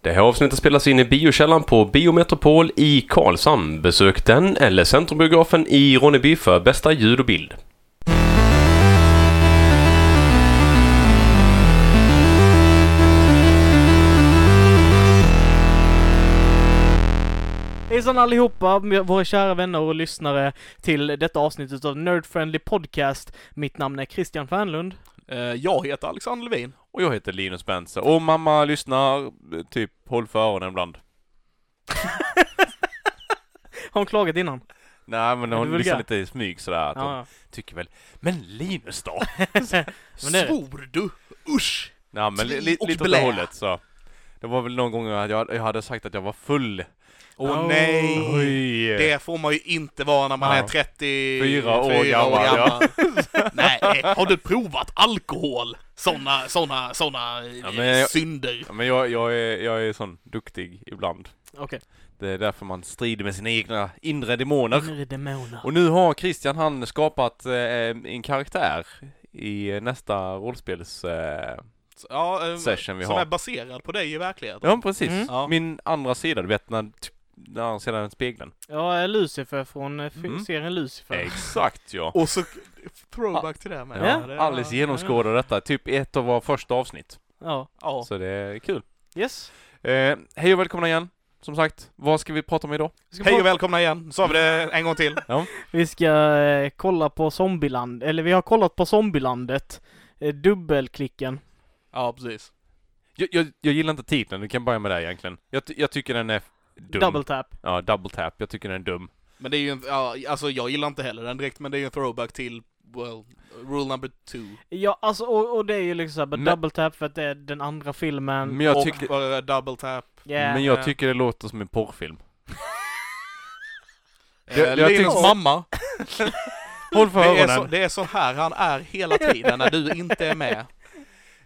Det här avsnittet spelas in i biokällaren på Biometropol i Karlshamn. Besök den eller Centrumbiografen i Ronneby för bästa ljud och bild. Hejsan allihopa, våra kära vänner och lyssnare till detta avsnitt av Nerd Friendly Podcast. Mitt namn är Christian Fernlund. Eh, Jag heter Alexander Levin. Och jag heter Linus Bense. Och mamma lyssnar, eh, typ håll för öronen ibland. Har hon klagat innan? Nej men du hon vulgär? lyssnar lite i smyg sådär. Att hon Ja. tycker väl, men Linus då? Men det är det. Svor du? Usch! Ja men li, li, Och lite åt det blä. hållet så. Det var väl någon gång jag, jag jag hade sagt att jag var full. Åh Oh. nej! Oj! Det får man ju inte vara när man Ja. är 34 Fyra år gammal, nej, har du provat alkohol? Såna, såna, såna Ja, eh, men jag- synder. Ja, men jag, jag, är, jag är sån duktig ibland. Okej. Det är därför man strider med sina egna inre demoner. Nu är det demoner. Och nu har Christian han skapat eh, en karaktär i eh, nästa rollspels... Eh, Ja, eh, Session vi som har. är baserad på dig i verkligheten. ja precis. Mm. Ja. Min andra sida, du vet när... Den andra sidan spegeln. Jag är Lucifer från eh, fi- Mm. serien Lucifer. Exakt ja. Och så throwback till det med. Ja. det- Alice genomskådar detta, typ i ett av våra första avsnitt. Ja. Ja. Så det är kul. Yes. Eh, hej och välkomna igen. Som sagt, vad ska vi prata om idag? Vi ska, Hej på- och välkomna igen, så har vi det en gång till. vi ska eh, kolla på Zombieland, eller vi har kollat på Zombielandet. Eh, dubbelklicken. Ja, precis. Jag, jag, jag gillar inte titeln, vi kan börja med det egentligen. Jag, ty- jag tycker den är f- dum. Double tap. Ja, double tap. Jag tycker den är dum. Men det är ju en, ja, alltså jag gillar inte heller den direkt, men det är ju en throwback till, well, rule number two. Ja, alltså och, och det är ju liksom såhär, Men- double tap för att det är den andra filmen. Men jag Mm. och tycker, bara double tap. yeah. men eh. jag tycker det låter som en porrfilm. Eh, Jag- jag Linus tycker- mamma, Håll för det är, så, öronen. det är så här han är hela tiden när du inte är med.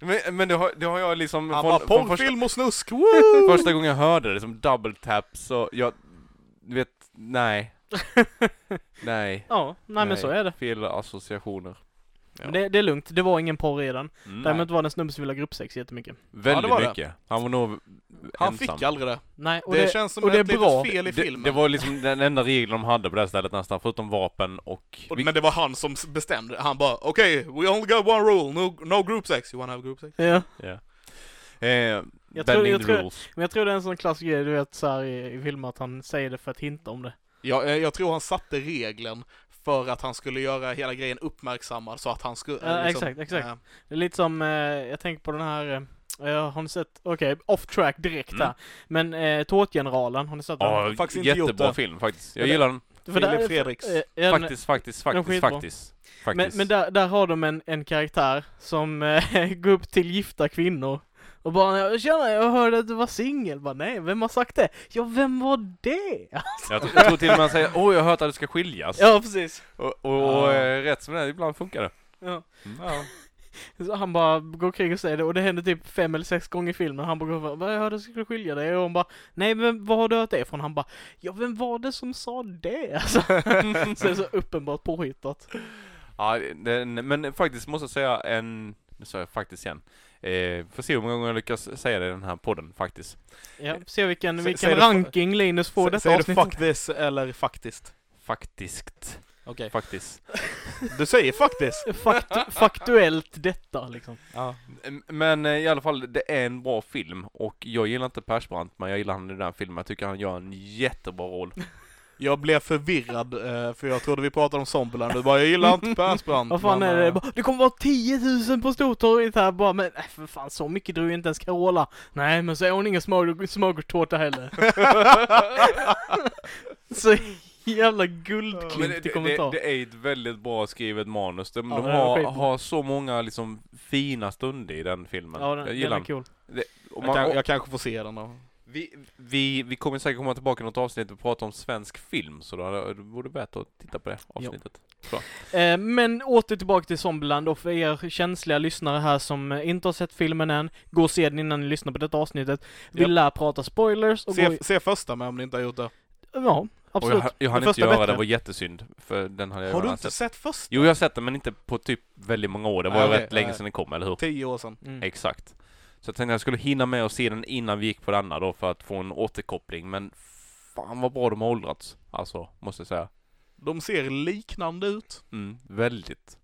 Men, men det, har, det har jag liksom... Han från- bara från första- porrfilm och snusk, woo! Första gången jag hörde det som double tap så jag, du vet, nej. nej. Ja, nej, men så är det. Fel associationer. Men det, det är lugnt, det var ingen porr i den. Mm. Däremot var det en snubbe som ville ha gruppsex jättemycket. Väldigt Ja, det var det. mycket. Han var nog Han ensam. fick aldrig det. Nej, och det, det, känns som och det är ett bra. litet fel i det, filmen. det var liksom den enda regeln de hade på det här stället nästan, förutom vapen och... Och- vi- Men det var han som bestämde. Han bara okej, we only got one rule, no, no group sex. You wanna have group sex? Ja. Ja. Eh, Jag tror- bending jag the tror- rules. Men jag tror det är en sån klassisk grej, du vet såhär i, i filmer att han säger det för att hinta om det. Ja, eh, jag tror han satte regeln för att han skulle göra hela grejen uppmärksammad så att han skulle... Ja, exakt, exakt. eh, Det är lite som, eh, jag tänker på den här, eh, eh, har ni sett, okej, off track direkt Mm. här. Men eh, Tårtgeneralen, har ni sett den? Ja, faktiskt inte gjort jättebra det. film faktiskt. Jag Ja, det- gillar den. För Filip där- Fredriks. eh, ja, den- Faktiskt, faktiskt, är faktiskt, skitbra. faktiskt. Men, faktiskt. men där, där har de en, en karaktär som eh, går upp till gifta kvinnor och bara ”Tjena, jag hörde att du var singel”. Bara, Nej, vem har sagt det? Ja, vem var det? jag, tror- jag tror till och med han säger åh jag har hört att du ska skiljas. Ja, precis. Och, och, och Ah. eh, rätt som det är, ibland funkar det. Ja. Mm. Så han bara går kring och säger det och det händer typ fem eller sex gånger i filmen. Han bara går och bara, jag hörde att du skulle skilja dig och hon bara, nej men vad har du hört det ifrån? Han bara, ja vem var det som sa det? Alltså, så det är så uppenbart påhittat. Ja, den, men faktiskt måste jag säga en, nu sa jag faktiskt igen. Eh, får se hur många gånger jag lyckas säga det i den här podden faktiskt. Ja, se vilken, Sä- vilken säger du- ranking Linus får sä- detta Säger du avsnittet. fuck this eller faktiskt? Faktiskt. Okej. Faktiskt. Du säger faktiskt. Fakt, faktuellt detta liksom. Ja. M- Men eh, i alla fall, det är en bra film och jag gillar inte Persbrandt men jag gillar han i den här filmen. Jag tycker han gör en jättebra roll. Jag blev förvirrad eh, för jag trodde vi pratade om Zombieland. Du bara jag gillar inte Persbrandt. Vad fan men, är det? eh, Bara, Det kommer vara 10 000 på Stortorget här bara, men nej för fan så mycket drog ju inte ens Carola. Nej men så är hon ingen smörg- smörgåstårta heller. så jävla Men det, guldklimp i det, kommentar. det är ett väldigt bra skrivet manus. De, Ja, de det är har, skitbra. har så många liksom fina stunder i den filmen. Ja, den, jag den gillar är cool. och Jag, man, kan, och jag kanske får se den då. vi, vi, vi kommer säkert komma tillbaka i något avsnitt och prata om svensk film så då, då vore det värt att titta på det avsnittet. Eh, men åter tillbaka till Zombieland och för er känsliga lyssnare här som eh, inte har sett filmen än, gå och se den innan ni lyssnar på detta avsnittet. Vi Japp. lär prata spoilers och gå Se, i... se första med om ni inte har gjort det. Ja, Och jag, absolut. ha- jag hann inte Den första göra bättre. det, var jättesynd. För den hade jag Har du gärna inte sett. sett första? Jo, jag har sett den men inte på typ väldigt många år. Det var Nej, ju okej, rätt länge nej. Typ. sedan den kom, eller hur? Tio år sedan. Mm. Exakt. Så jag tänkte jag skulle hinna med och se den innan vi gick på denna då för att få en återkoppling. Men fan vad bra de har åldrats. Alltså, måste jag säga. De ser liknande ut. Mm, väldigt.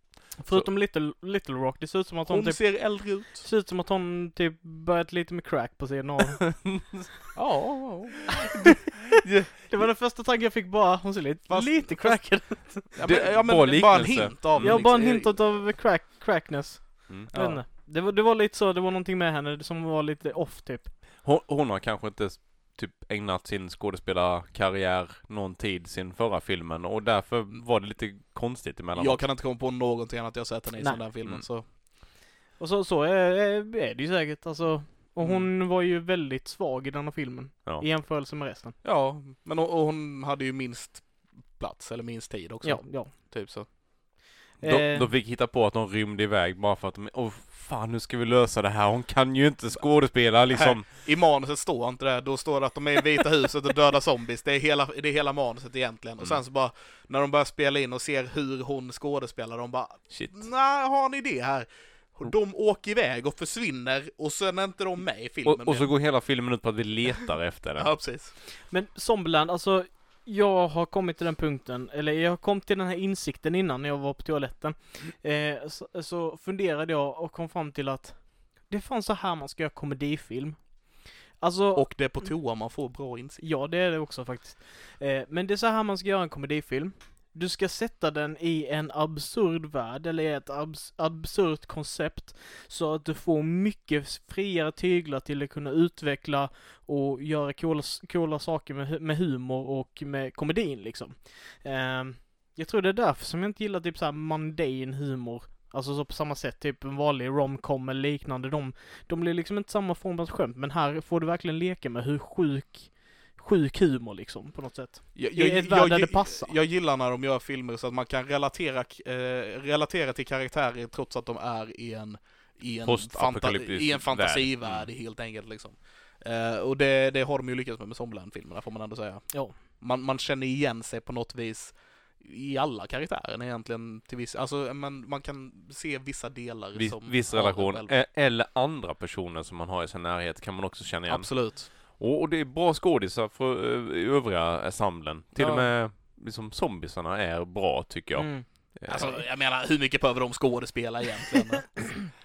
Förutom Little, Little Rock, det ser ut som att hon, Hon typ, ser äldre ut. ser ut som att hon typ börjat lite med crack på sidan av. Ja. Det var den första tanken jag fick bara, hon ser lite, Fast- lite crackad. Ja, Det- men, bra ja, men bara en liknelse. hint av Mm. Jag har bara en liksom- hint av crack, crackness. Mm. Jag vet inte. Det var, det var lite så, det var någonting med henne som var lite off typ. Hon, hon har kanske inte s- typ ägnat sin skådespelarkarriär någon tid sin förra filmen och därför var det lite konstigt emellanåt. Jag kan inte komma på någonting annat jag sett henne i Nej. sån där filmen Mm. så. Och så, så är, är är det ju säkert alltså. Och hon var ju väldigt svag i denna filmen. Ja. I jämförelse med resten. Ja, men och, och hon hade ju minst plats eller minst tid också. Ja, ja. Typ så. De, Eh. de fick hitta på att de rymde iväg bara för att de, åh fan nu ska vi lösa det här, hon kan ju inte skådespela liksom. I manuset står inte det, då står det att de är i Vita huset och dödar zombies. Det är hela, det är hela manuset egentligen. Mm. Och sen så bara, när de börjar spela in och ser hur hon skådespelar, de bara Shit. Nej, har ni det här? Mm. De åker iväg och försvinner och sen är inte de med i filmen Och, och så mer. går hela filmen ut på att vi letar efter den. Ja, precis. Men Zombieland, alltså jag har kommit till den punkten, eller jag kom till den här insikten innan när jag var på toaletten. Eh, så, så funderade jag och kom fram till att det är fan så här man ska göra komedifilm. Alltså, Och det är på toa man får bra insikt. ja det är det också faktiskt. Eh, men det är så här man ska göra en komedifilm. Du ska sätta den i en absurd värld, eller i ett abs- absurt koncept, så att du får mycket friare tyglar till att kunna utveckla och göra coola, coola saker med, hu- med humor och med komedin liksom. Ehm, jag tror det är därför som jag inte gillar typ såhär mundane humor. Alltså så på samma sätt, typ en vanlig romcom eller liknande. De, de blir liksom inte samma form av skämt, men här får du verkligen leka med hur sjuk, sjuk humor liksom, på något sätt. Jag, I ett värld där det passar. jag gillar när de gör filmer så att man kan relatera, eh, relatera till karaktärer trots att de är i en, i en, Postapokalyptisk i en fantasivärld värld. helt enkelt. Liksom. Eh, och det, det har de ju lyckats med med Zombieland-filmerna får man ändå säga. Ja. Man, man känner igen sig på något vis i alla karaktärerna egentligen till viss, alltså men man kan se vissa delar Viss, som viss har en relation, själv. e- eller andra personer som man har i sin närhet kan man också känna igen. Absolut. Och, och det är bra skådisar för eh, i övriga ensemblen. Till Ja. och med liksom zombiesarna är bra tycker jag. Mm. Eh, Alltså, jag menar, hur mycket behöver de skådespela egentligen?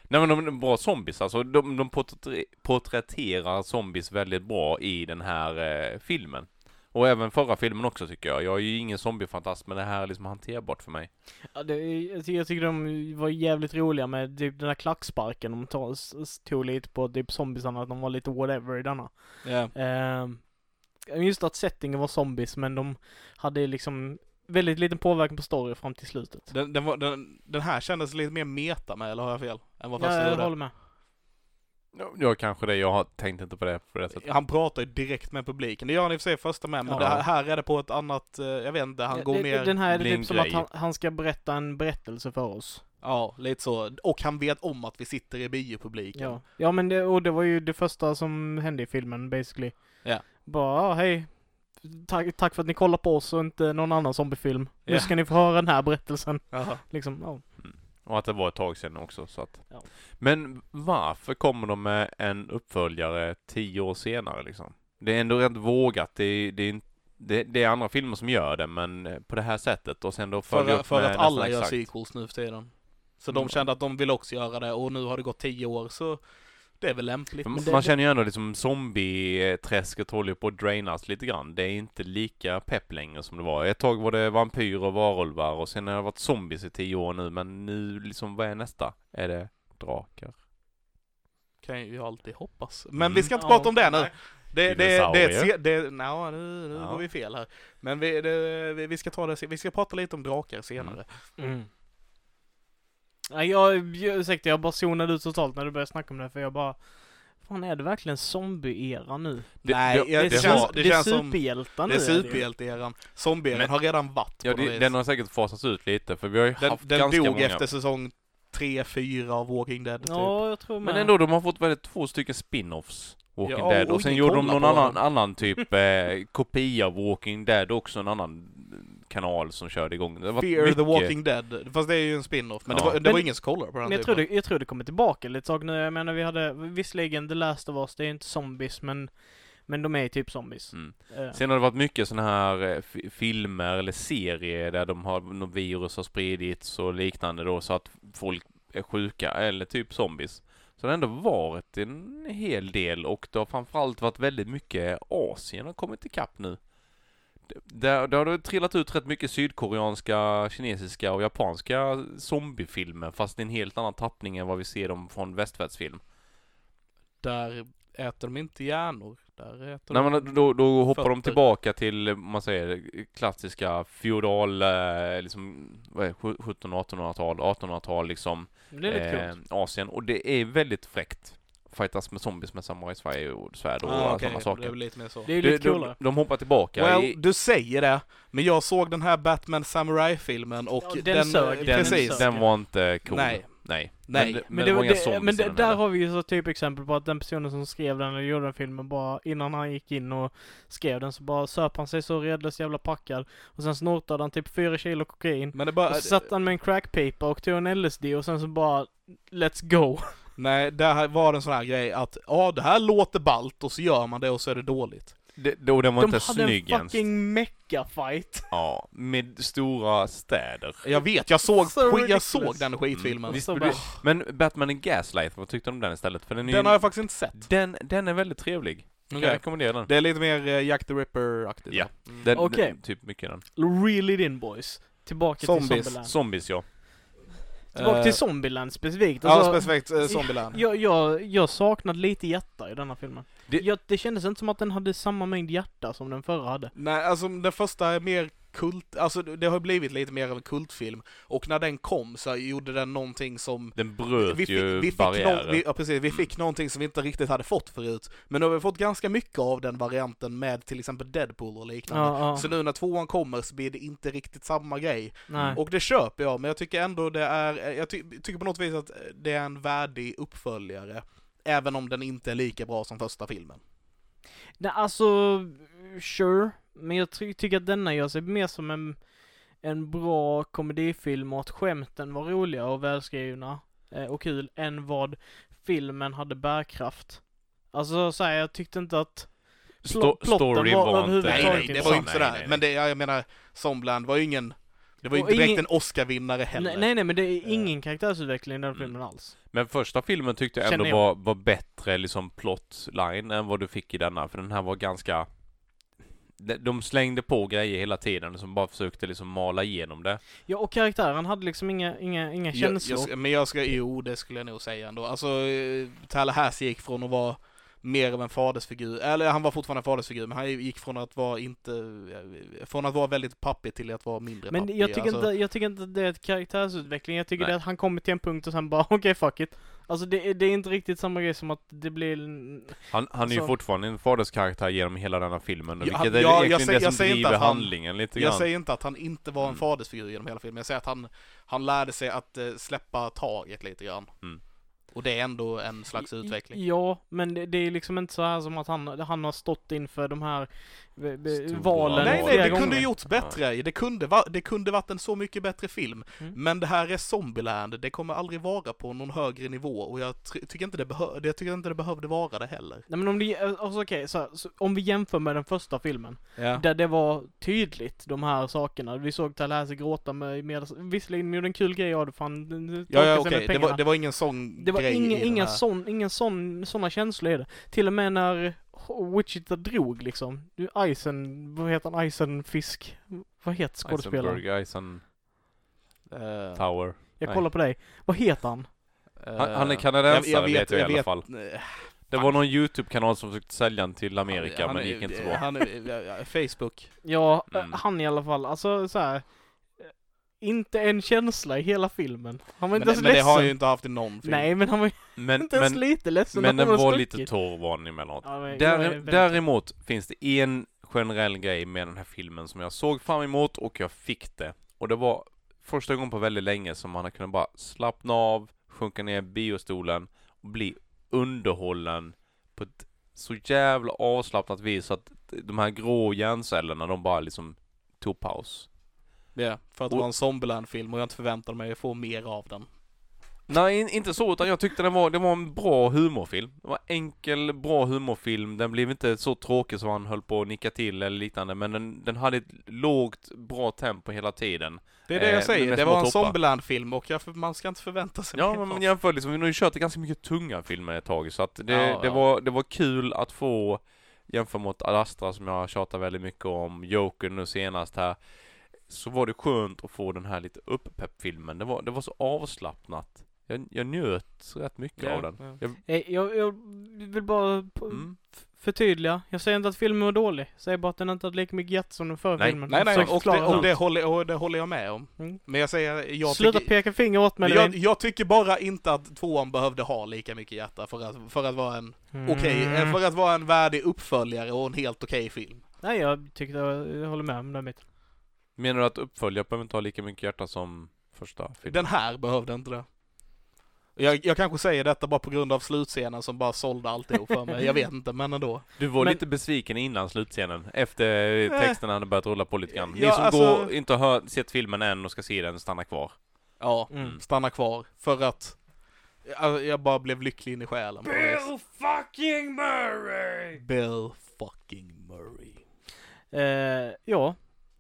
Nej men de är bra zombies alltså. De, de porträtter- porträtterar zombies väldigt bra i den här eh, filmen. Och även förra filmen också tycker jag. Jag är ju ingen zombiefantast men det här är liksom hanterbart för mig. Ja, det, jag, ty- jag tycker de var jävligt roliga med typ den där klacksparken de tog, s- s- tog lite på typ zombiesarna, att de var lite whatever i denna. ja. Ehm, just att settingen var zombies men de hade liksom väldigt liten påverkan på story fram till slutet. den, den, var, den, den här kändes lite mer meta med, eller har jag fel? Än vad första Ja, jag gjorde. håller med. Ja, Jag kanske det, jag har tänkt inte på det på det sättet. Han pratar ju direkt med publiken. Det gör han i och för sig i första med, men Ja. det här, här är det på ett annat, eh, jag vet inte, han Ja, går det- mer... den här är det blir en typ som att grej. han, han ska berätta en berättelse för oss. Ja, lite så. Och han vet om att vi sitter i biopubliken. Ja, ja men det, och det var ju det första som hände i filmen basically. Ja. Bara, ah, hej. Tack, tack för att ni kollar på oss och inte någon annan zombiefilm. Nu Ja. ska ni få höra den här berättelsen. Jaha. Liksom, ja. Och att det var ett tag sedan också så att. Ja. Men varför kommer de med en uppföljare tio år senare liksom? Det är ändå rätt vågat. Det är, det är, inte- det, det är andra filmer som gör det men eh, på det här sättet och sen då följa För, upp för med att nästan alla gör exakt. sequels nu för tiden. Så Mm. de kände att de vill också göra det och nu har det gått tio år så det är väl lämpligt. För Man, det- man det- känner ju ändå liksom zombieträsket håller ju på att drainas lite grann. Det är inte lika pepp längre som det var. Ett tag var det vampyrer och varulvar och sen har det varit zombies i tio år nu men nu liksom, vad är nästa? Är det drakar? Kan ju alltid hoppas. Men Mm. vi ska inte Ja. prata om det nu. Det, det, det, det, Dinosaurier. det, det no, nu, nu Ja. går vi fel här. Men vi, det, vi, vi ska ta det, se- vi ska prata lite om drakar senare. Mm. Ja, jag, jag, ursäkta, jag bara zonade ut totalt när du började snacka om det för jag bara Fan är det verkligen zombie-era nu? Det- Nej, det- jag- Det, det är känns- känns, det, det det är känns som- superhjältar nu. Det är ju. superhjälteeran. Zombien Men- har redan varit på Ja, något det, vis. den har säkert fasats ut lite för vi har ju Den, haft den ganska dog många. efter säsong 3-4 av Walking Dead. Typ. Ja, jag tror med. Men ändå, de har fått väl två stycken spin-offs, Walking Ja, Dead. Och oj, sen gjorde de kolla någon på annan, dem. annan typ eh, kopia av Walking Dead också, en annan eh, kanal som körde igång. Det har varit Fear mycket... the Walking Dead. Fast det är ju en spin-off. Men Ja. det var, det Men- var ingen som kollade på den Men jag typen. tror, det, jag tror det kommer tillbaka lite saker nu. Jag menar vi hade visserligen The Last of Us, det är ju inte zombies men men de är ju typ zombies. Mm. Eh, Sen har det varit mycket sådana här eh, fi- filmer eller serier där de har, något virus har spridits och liknande då så att folk är sjuka eller typ zombies. Så det har ändå varit en hel del och det har framförallt varit väldigt mycket Asien har kommit ikapp nu. Det- Där, där har det trillat ut rätt mycket sydkoreanska, kinesiska och japanska zombiefilmer fast i en helt annan tappning än vad vi ser dem från västvärldsfilm. Där äter de inte hjärnor. Där äter Nej de... men då, då hoppar de Fötter. tillbaka till, om man säger, klassiska feodal, eh, liksom, vad är det, 1700 och 1800-tal, 1800-tal liksom. men det är lite eh, coolt. Asien. Och det är väldigt fräckt. Fightas med zombies med samurajsvärd och svärd och Ah, alla okej, sådana Det är saker. väl lite mer så. Det är ju De, lite de, coolare. de hoppar tillbaka i, Well, du säger det, men jag såg den här Batman Samurai-filmen och Ja, den den... sög. Den den, Precis. sög. den var inte cool. Nej. Nej. Nej. Men, det- men, Men, det var det, inga det, zombies men i det, den där heller. har vi ju så typ exempel på att den personen som skrev den eller gjorde den filmen bara innan han gick in och skrev den så bara söp han sig så redlöst jävla packad och sen snortade han typ fyra kilo kokain Men det bara... och så satt han med en crackpipa och tog en LSD och sen så bara Let's go! Nej, det här var en sån här grej att ja, det här låter ballt och så gör man det och så är det dåligt. Det, då den var De inte hade en snygg ens. fucking mecha-fight! Ja, med stora städer. Jag vet, jag såg, So skit- jag ridiculous. såg den skitfilmen. Mm. Visst, Så men bara- du, men Batman and Gaslight, vad tyckte du om den istället? För den är ju Den har jag faktiskt inte sett. Den, den är väldigt trevlig. Kan Jag rekommendera den. Det är lite mer eh, Jack the Ripper-aktigt. Ja. va? Mm. den Okej. den- Typ mycket den. Reel it in boys! Tillbaka Zombies. till Zombieland. Zombies ja. Tillbaka till Eh, Zombieland specifikt. Ja, Alltså, specifikt eh, Zombieland. jag, jag, jag saknade lite hjärta i denna filmen. Det- Det, jag, det kändes inte som att den hade samma mängd hjärta som den förra hade. Nej, alltså den första är mer kult, alltså det har blivit lite mer av en kultfilm. Och när den kom så gjorde den någonting som Den bröt vi fick, ju vi fick, barriärer. nå- vi, ja, precis, vi fick någonting som vi inte riktigt hade fått förut. Men nu har vi fått ganska mycket av den varianten med till exempel Deadpool och liknande. Ja, ja. Så nu när tvåan kommer så blir det inte riktigt samma grej. Nej. Och det köper jag, men jag tycker ändå det är, jag ty tycker på något vis att det är en värdig uppföljare. Även om den inte är lika bra som första filmen. Nej, alltså, sure. Men jag ty tycker att denna gör sig mer som en, en bra komedifilm och att skämten var roliga och välskrivna eh, och kul än vad filmen hade bärkraft. Alltså så här, jag tyckte inte att Sto- plotten story var var inte... Nej, överhuvudtaget nej, det var ju inte Nej, sådär. nej, nej. Men det, jag menar, Zombland var ju ingen, det var ju Och inte direkt ingen- en Oscar-vinnare heller. Nej, nej, nej men det är Eh. ingen karaktärsutveckling i den Mm. filmen alls. Men första filmen tyckte jag ändå Känner jag. Var, var bättre liksom plotline än vad du fick i denna. För den här var ganska... de- De slängde på grejer hela tiden som bara försökte liksom mala igenom det. Ja och karaktären hade liksom inga, inga, inga Jag- jag känslor. ska- men jag ska, jo det skulle jag nog säga ändå. Alltså, eh, Tallahassee gick från att vara mer av en fadersfigur, eller han var fortfarande en fadersfigur, men han gick från att vara inte, eh, från att vara väldigt pappig till att vara mindre men pappig. jag tycker, alltså, inte, jag tycker inte att det är ett karaktärsutveckling, jag tycker Nej. det är att han kommer till en punkt och sen bara okej fuck it. Alltså det, är- det är inte riktigt samma grej som att det blir en- Han, han är ju Så- fortfarande en faderskaraktär genom hela denna filmen. Alltså- Ja, vilket han- är jag- jag egentligen säger- det jag som säger inte driver att han- handlingen lite Jag grann. säger inte att han inte var en Mm. fadersfigur genom hela filmen, jag säger att han, han lärde sig att eh, släppa taget lite grann. Mm. Och det är ändå en slags utveckling. Ja, men det, det är liksom inte så här som att han, han har stått inför de här eh, eh, Stora valen Nej, nej, flera det kunde gånger. gjorts bättre. Det kunde, va, det kunde varit en så mycket bättre film. Mm. Men det här är Zombieland. Det kommer aldrig vara på någon högre nivå och jag tr- tycker inte det, behö- jag tycker inte det behövde vara det heller. Nej men om det, alltså, okej, så här, så om vi jämför med den första filmen, där det var tydligt de här sakerna. Vi såg Tallahassee gråta med, med visserligen gjorde en kul grej av det, för han torkade Ja, ja sig okej. med Det, pengarna. var, det var ingen sån Det var grej inga, i den inga, här. sån, ingen sån, såna känslor i det. Till och med när Wichita drog liksom. Du, Eisen, vad heter han? Eisenfisk? Vad heter skådespelaren? Eisenberg, Eisen Eh, Tower. Jag Nej. kollar på dig. Vad heter han? Han, eh, han är kanadensare jag vet, jag, i alla fall. eh, Det var någon YouTube-kanal som försökte sälja den till Amerika han men det är- gick inte så eh, bra. Han är, ja, ja, Facebook. Ja, eh, Mm. han i alla fall. Alltså så här. eh, Inte en känsla i hela filmen. Han var Men, inte det, ens men det ledsen. har han ju inte haft i någon film. Nej, men han var Men, inte ens men, lite ledsen. men när den han var hade lite stuckit. torr var den emellanåt. Ja, men jag är Där, väldigt- däremot finns det en generell grej med den här filmen som jag såg fram emot och jag fick det. Och det var första gången på väldigt länge som man har kunnat bara slappna av, sjunka ner i biostolen och bli underhållen på ett så jävla avslappnat vis så att de här grå hjärncellerna de bara liksom tog paus. Ja, för att det var en Zombieland-film och jag inte förväntade mig att få mer av den. Nej, in- inte så, utan jag tyckte den var, det var en bra humorfilm. Det var enkel, bra humorfilm. Den blev inte så tråkig som han höll på att nicka till eller liknande, men den, den hade ett lågt, bra tempo hela tiden. Det är det Eh, jag men säger, med det små var en toppar. Zombieland-film och jag, man ska inte förvänta sig Ja, mer men av man jämför liksom, vi har ju kört ganska mycket tunga filmer ett tag, så att det, Ja, det, ja. Var, det var kul att få jämfört mot Ad Astra som jag tjatar väldigt mycket om, Joker nu senast här, så var det skönt att få den här lite upppeppfilmen. Det var, det var så avslappnat. Jag, jag njöt rätt mycket av den. Ja. Jag, Eh, Jag, jag vill bara på- mm. f- förtydliga. Jag säger inte att filmen var dålig. Jag säger bara att den inte hade lika mycket hjärt som den förra Nej. filmen. Nej, nej, Försöker och det, förklara och, den. det håller, och det håller jag med om. Mm. Men jag säger, jag Sluta tycker, peka finger åt mig. jag, Levin. jag tycker bara inte att tvåan behövde ha lika mycket hjärta för att, för att vara en, Mm. okej, eh, för att vara en värdig uppföljare och en helt okej film. Nej, jag tyckte, jag håller med om det. Mitt. Menar du att uppföljare behöver inte ha lika mycket hjärta som första filmen? Den här behövde inte det. Jag, jag kanske säger detta bara på grund av slutscenen som bara sålde alltihop för mig, jag vet inte, men ändå. Du var Men- lite besviken innan slutscenen, efter texten hade börjat rulla på lite grann. Ni Ja, som alltså- går, inte har hört- sett filmen än och ska se den, stanna kvar. Ja, Mm. stanna kvar. För att jag, jag bara blev lycklig in i själen. på det. fucking Murray! Bill fucking Murray. Eh, ja.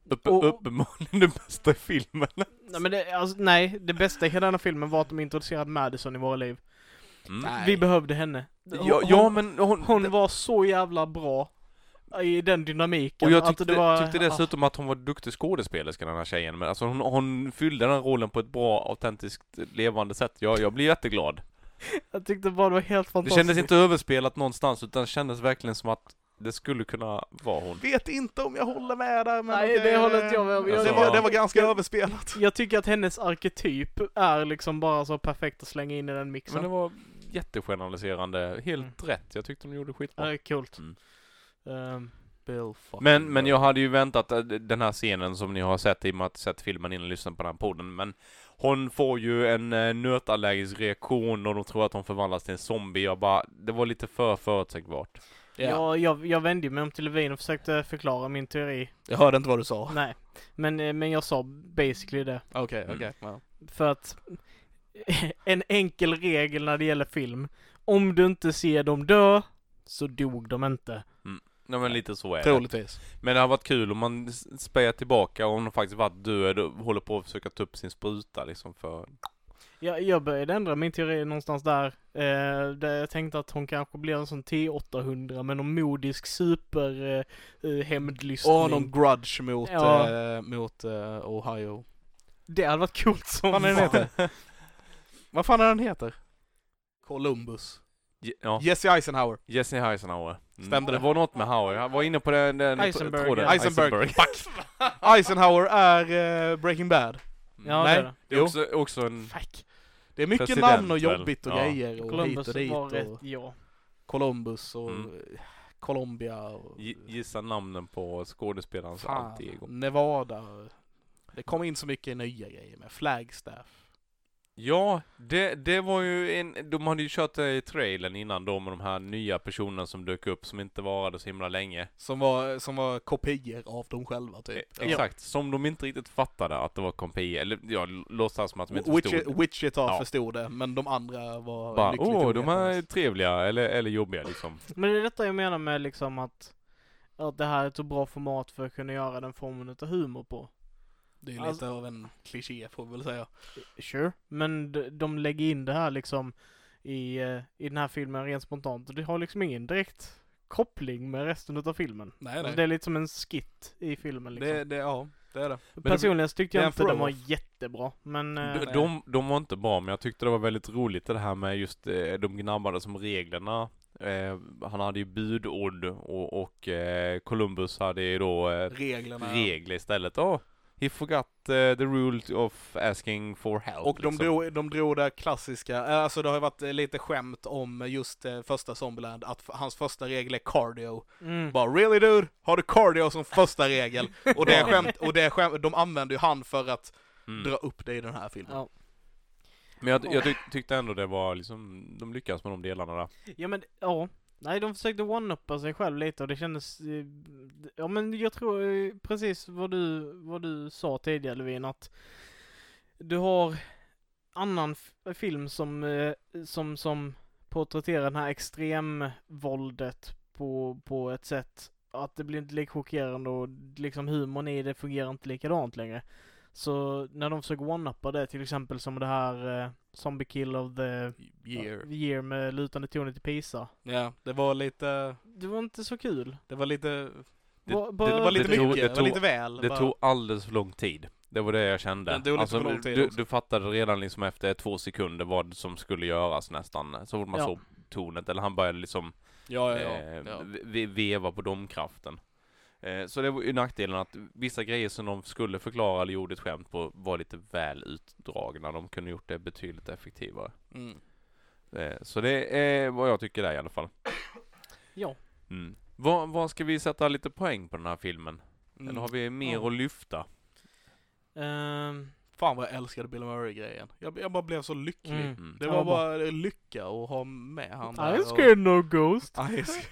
Upp, Och- Uppenbarligen den bästa filmen. Nej, men det, alltså, nej, det bästa i hela den här filmen var att de introducerade Madison i våra liv. Mm. Nej. Vi behövde henne. Hon, Ja, ja, men hon... hon, hon var så jävla bra i den dynamiken. och jag att tyckte, alltså, det var, ah. tyckte dessutom att hon var duktig skådespelerska den här tjejen. Men alltså hon, hon fyllde den här rollen på ett bra, autentiskt, levande sätt. Jag, jag blev jätteglad. ah, jag tyckte bara det var helt Det fantastiskt. kändes inte överspelat någonstans utan kändes verkligen som att det skulle kunna vara hon. Vet inte om jag håller med där men Nej, okej. det håller inte jag med om. Jag- det, var, jag- det var ganska jag- överspelat. Jag tycker att hennes arketyp är liksom bara så perfekt att slänga in i den Men mixen. det Det var jättegeneraliserande. Helt Mm. rätt. Jag tyckte de gjorde skitbra. är coolt. Mm. Ehm, Bill fucking Men, men jag hade ju väntat eh, den här scenen som ni har sett i och med att sett filmen innan och lyssnat på den här podden. Men hon får ju en eh, nötallergisk reaktion och de tror att hon förvandlas till en zombie. Jag bara, det var lite för förutsägbart. Ja. jag, jag, jag vände ju mig om till Levin och försökte förklara min teori. Jag hörde inte vad du sa. Nej, men, eh, men jag sa basically det. Okej, Mm. okej. ja. För att en enkel regel när det gäller film. Om du inte ser dem dö, så dog de inte. Nej men lite så är det. Troligtvis. Men det har varit kul om man s- spejar tillbaka och hon har faktiskt varit död och håller på att försöka ta upp sin spruta liksom för... Jag, jag började ändra min teori någonstans där. Eh, där jag tänkte att hon kanske blir en sån T800 med någon modisk super eh, eh, hämndlystning. Och någon grudge mot, Ja. eh, mot eh, Ohio. Det hade varit coolt som Vad fan är den fan. heter? vad fan är den heter? Columbus. J- Ja, Jesse Eisenhower. Jesse Eisenhower. Mm. Stämde det? det? var något med Howard. Jag var inne på den, den Eisenberg, tråden. ja. Eisenberg. Eisenhower är eh, Breaking Bad. Mm. Ja, Nej. det är det. Det är också, också en... Fuck. Det är mycket President, namn och väl? jobbigt och Ja. grejer och Columbus hit och dit. var och rätt, ja. Columbus och Mm. eh, Colombia och... Gi- Gissa namnen på skådespelarens Fan, alter-ego. Nevada. Det kom in så mycket nya grejer med Flagstaff. Ja, det, det var ju en... De hade ju kört det i trailern innan då med de här nya personerna som dök upp som inte varade så himla länge. Som var, som var kopior av dem själva typ. E- Exakt, som de inte riktigt fattade att det var kompier, eller ja, l- låtsas som att de inte Wichi- förstod. Wichita Ja. förstod det, men de andra var Bara, lyckligt åh, de är ovetande. trevliga eller, eller jobbiga liksom. Men det är detta jag menar med liksom att, att det här är ett så bra format för att kunna göra den formen utav humor på. Det är ju Alltså- lite av en kliché får vi väl säga. Sure. Men de, de lägger in det här liksom i, eh, i den här filmen rent spontant och det har liksom ingen direkt koppling med resten utav filmen. Nej, Alltså, nej. det är lite som en skit i filmen liksom. Det, det, ja, det är det. det- Personligen så tyckte det är jag en inte den var throw-off. jättebra, men... eh, De, de, de var inte bra, men jag tyckte det var väldigt roligt det här med just eh, de gnabbade som reglerna. Eh, han hade ju budord och, och eh, Columbus hade ju då eh, Reglerna. regler istället. Oh, he forgot eh, the rule of asking for help. Och de liksom. drog, de drog det klassiska, eh, alltså det har ju varit eh, lite skämt om just eh, första Zombieland, att f- hans första regel är cardio. mm. Bara really dude, har du cardio som första regel? Och det är skämt, och det är skämt, de använder ju han för att Mm. dra upp det i den här filmen. Ja. Men jag, jag tyck, tyckte ändå det var liksom, de lyckades med de delarna där. ja men, ja. Nej, de försökte one-uppa sig själv lite och det kändes... eh, d- ja men jag tror eh, precis vad du, vad du sa tidigare Levin att du har annan f- film som, eh, som, som porträtterar den här extremvåldet på, på ett sätt att det blir inte lika chockerande och liksom humorn i det fungerar inte likadant längre. Så när de försöker one-uppa det till exempel som det här eh, Zombie Kill of the Year. year med lutande tornet i Pisa. Ja, det var lite, Det var inte så kul. det var lite, Det- Bara- det, bara- var lite det tog- mycket, det det, tog- var lite väl. Det bara. tog alldeles för lång tid. Det var det jag kände. Alltså, Det tog lite för lång tid du, också. du fattade redan liksom efter två sekunder vad som skulle göras nästan. Så fort man Ja. såg tornet, eller han började liksom ja, ja, ja, eh, ja. ve- veva på domkraften. Eh, så det var ju nackdelen att vissa grejer som de skulle förklara eller gjorde ett skämt på var lite väl utdragna. De kunde gjort det betydligt effektivare. Mm. Eh, så det är vad jag tycker där i alla fall. Ja. Mm. Vad, vad ska vi sätta lite poäng på den här filmen? Mm. Eller har vi mer Ja. att lyfta? Ehm, Fan vad jag älskade Bill Murray-grejen. Jag, jag bara blev så lycklig. mm. Mm. Det Ja, var vad bra. bara lycka att ha med han I och- scared no ghost. Ice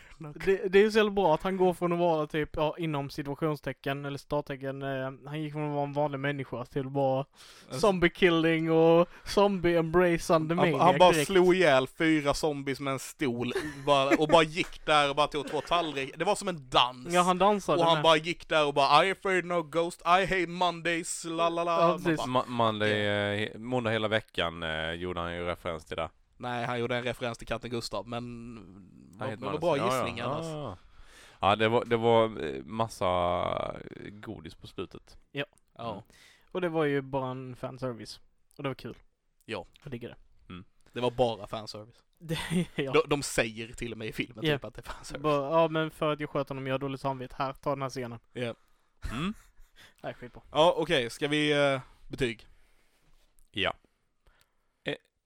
Det, det är ju så jävla bra att han går från att vara typ, ja, inom situationstecken eller starttecken, eh, han gick från att vara en vanlig människa till att vara zombie killing och zombie embracing the Alltså- han, maniac han bara direkt. slog ihjäl fyra zombies med en stol bara, och bara gick där och bara tog två tallrikar. Det var som en dans. Ja, han dansade och han med. bara gick där och bara I afraid no ghost, I hate Mondays, la la Ja, la. Man precis. bara, Ma- Monday, eh, he- måndag hela veckan eh, gjorde han ju referens till det. Nej, han gjorde en referens till katten Gustav, men... Han men heter Mannes. vad bra Ja, ja, gissning annars. Ja, ja. ja det, var, det var eh, massa eh, godis på slutet. Ja. Och det var ju bara en fanservice. Och det var kul. Ja. Jag diggar det. Det var bara fanservice. det ja. De, de säger till och med i filmen Ja. typ att det är fanservice. Bara, ja men för att jag sköt honom, jag har dåligt samvete. Här, ta den här scenen. Mm. Nej, skitbra. Ja, okej, ska vi... eh, betyg? Ja.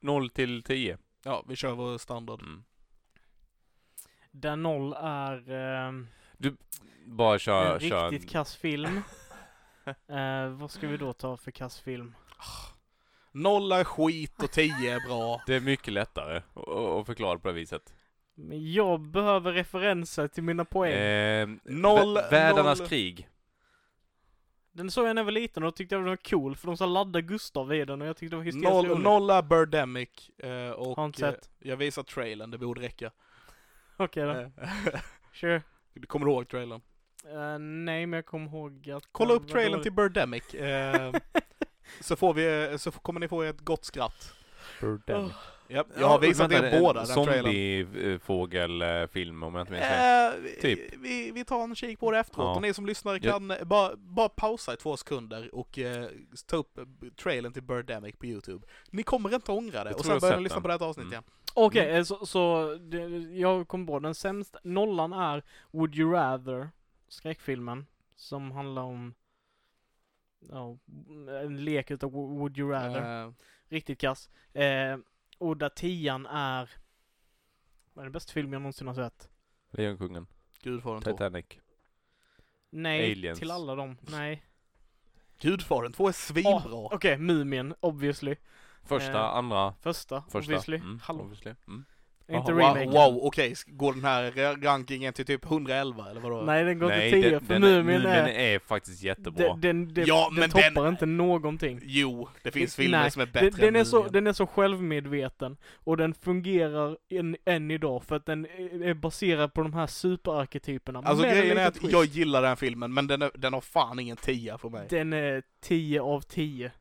0 till 10. Ja, vi kör vår standard. Mm. Där noll är ehm, Bara en kör, kör en riktigt kass film. Eh, vad ska vi då ta för kass film? Noll är skit och tio är bra. Det är mycket lättare att- att förklara på det viset. Men jag behöver referenser till mina poäng. Eh, Noll- vä- Världarnas noll- krig. Den såg jag när jag var liten och då tyckte jag den var cool för de sa ladda Gustav i den och jag tyckte det var hysteriskt Noll, roligt. noll är Birdemic. eh, och Har inte sett. eh, jag visar trailern, det borde räcka. Okej då, Eh, sure. du kommer ihåg trailern? Eh, nej men jag kommer ihåg att... Kolla den upp var trailern dålig. till Birdemic. eh, så, får vi, eh, så kommer ni få ett gott skratt. Åh, Japp, jag har visat er båda den trailern. Zombiefågelfilm om jag inte minns fel. Eh, vi- Typ. vi, vi tar en kik på det efteråt Ja. och ni som lyssnar Jag- kan eh, bara, bara pausa i två sekunder och eh, ta upp eh, trailern till Birdemic på Youtube. Ni kommer inte ångra det Jag tror och sen jag börjar sett ni lyssna den. på det här Mm. avsnittet igen. Okej, eh, så, så det, jag kom på den sämsta. Nollan är Would You Rather, skräckfilmen, som handlar om ja, en lek utav Wo- Would You Rather. Eh, Riktigt kass. Eh, och där tian är... Vad är den bästa film jag någonsin har sett? Eh. Lejonkungen. Gudfadern 2. Titanic. Nej, Aliens. till alla dem. Nej. Gudfadern 2 är Ah, svinbra. Okej, Mumien, obviously. Första, Eh, andra, Första, första. obviously. Mm, Hallå. obviously. Mm. Inte Aha, Wow, remake. wow okej, sk- går den här ra- rankingen till typ 111 eller vadå? Nej, den går Nej, till 10, den, för den, Mumien Mumien är... är faktiskt jättebra. Den, den, den, Ja, den men toppar den- inte någonting. Jo, det finns Nej, filmer som är bättre Den, den, är än så, Mumien. den är så självmedveten och den fungerar än, än idag för att den är är baserad på de här superarketyperna. Alltså med en grejen är liten att twist. jag gillar den här filmen men den, är, den har fan ingen tia för mig. Den är 10 av 10.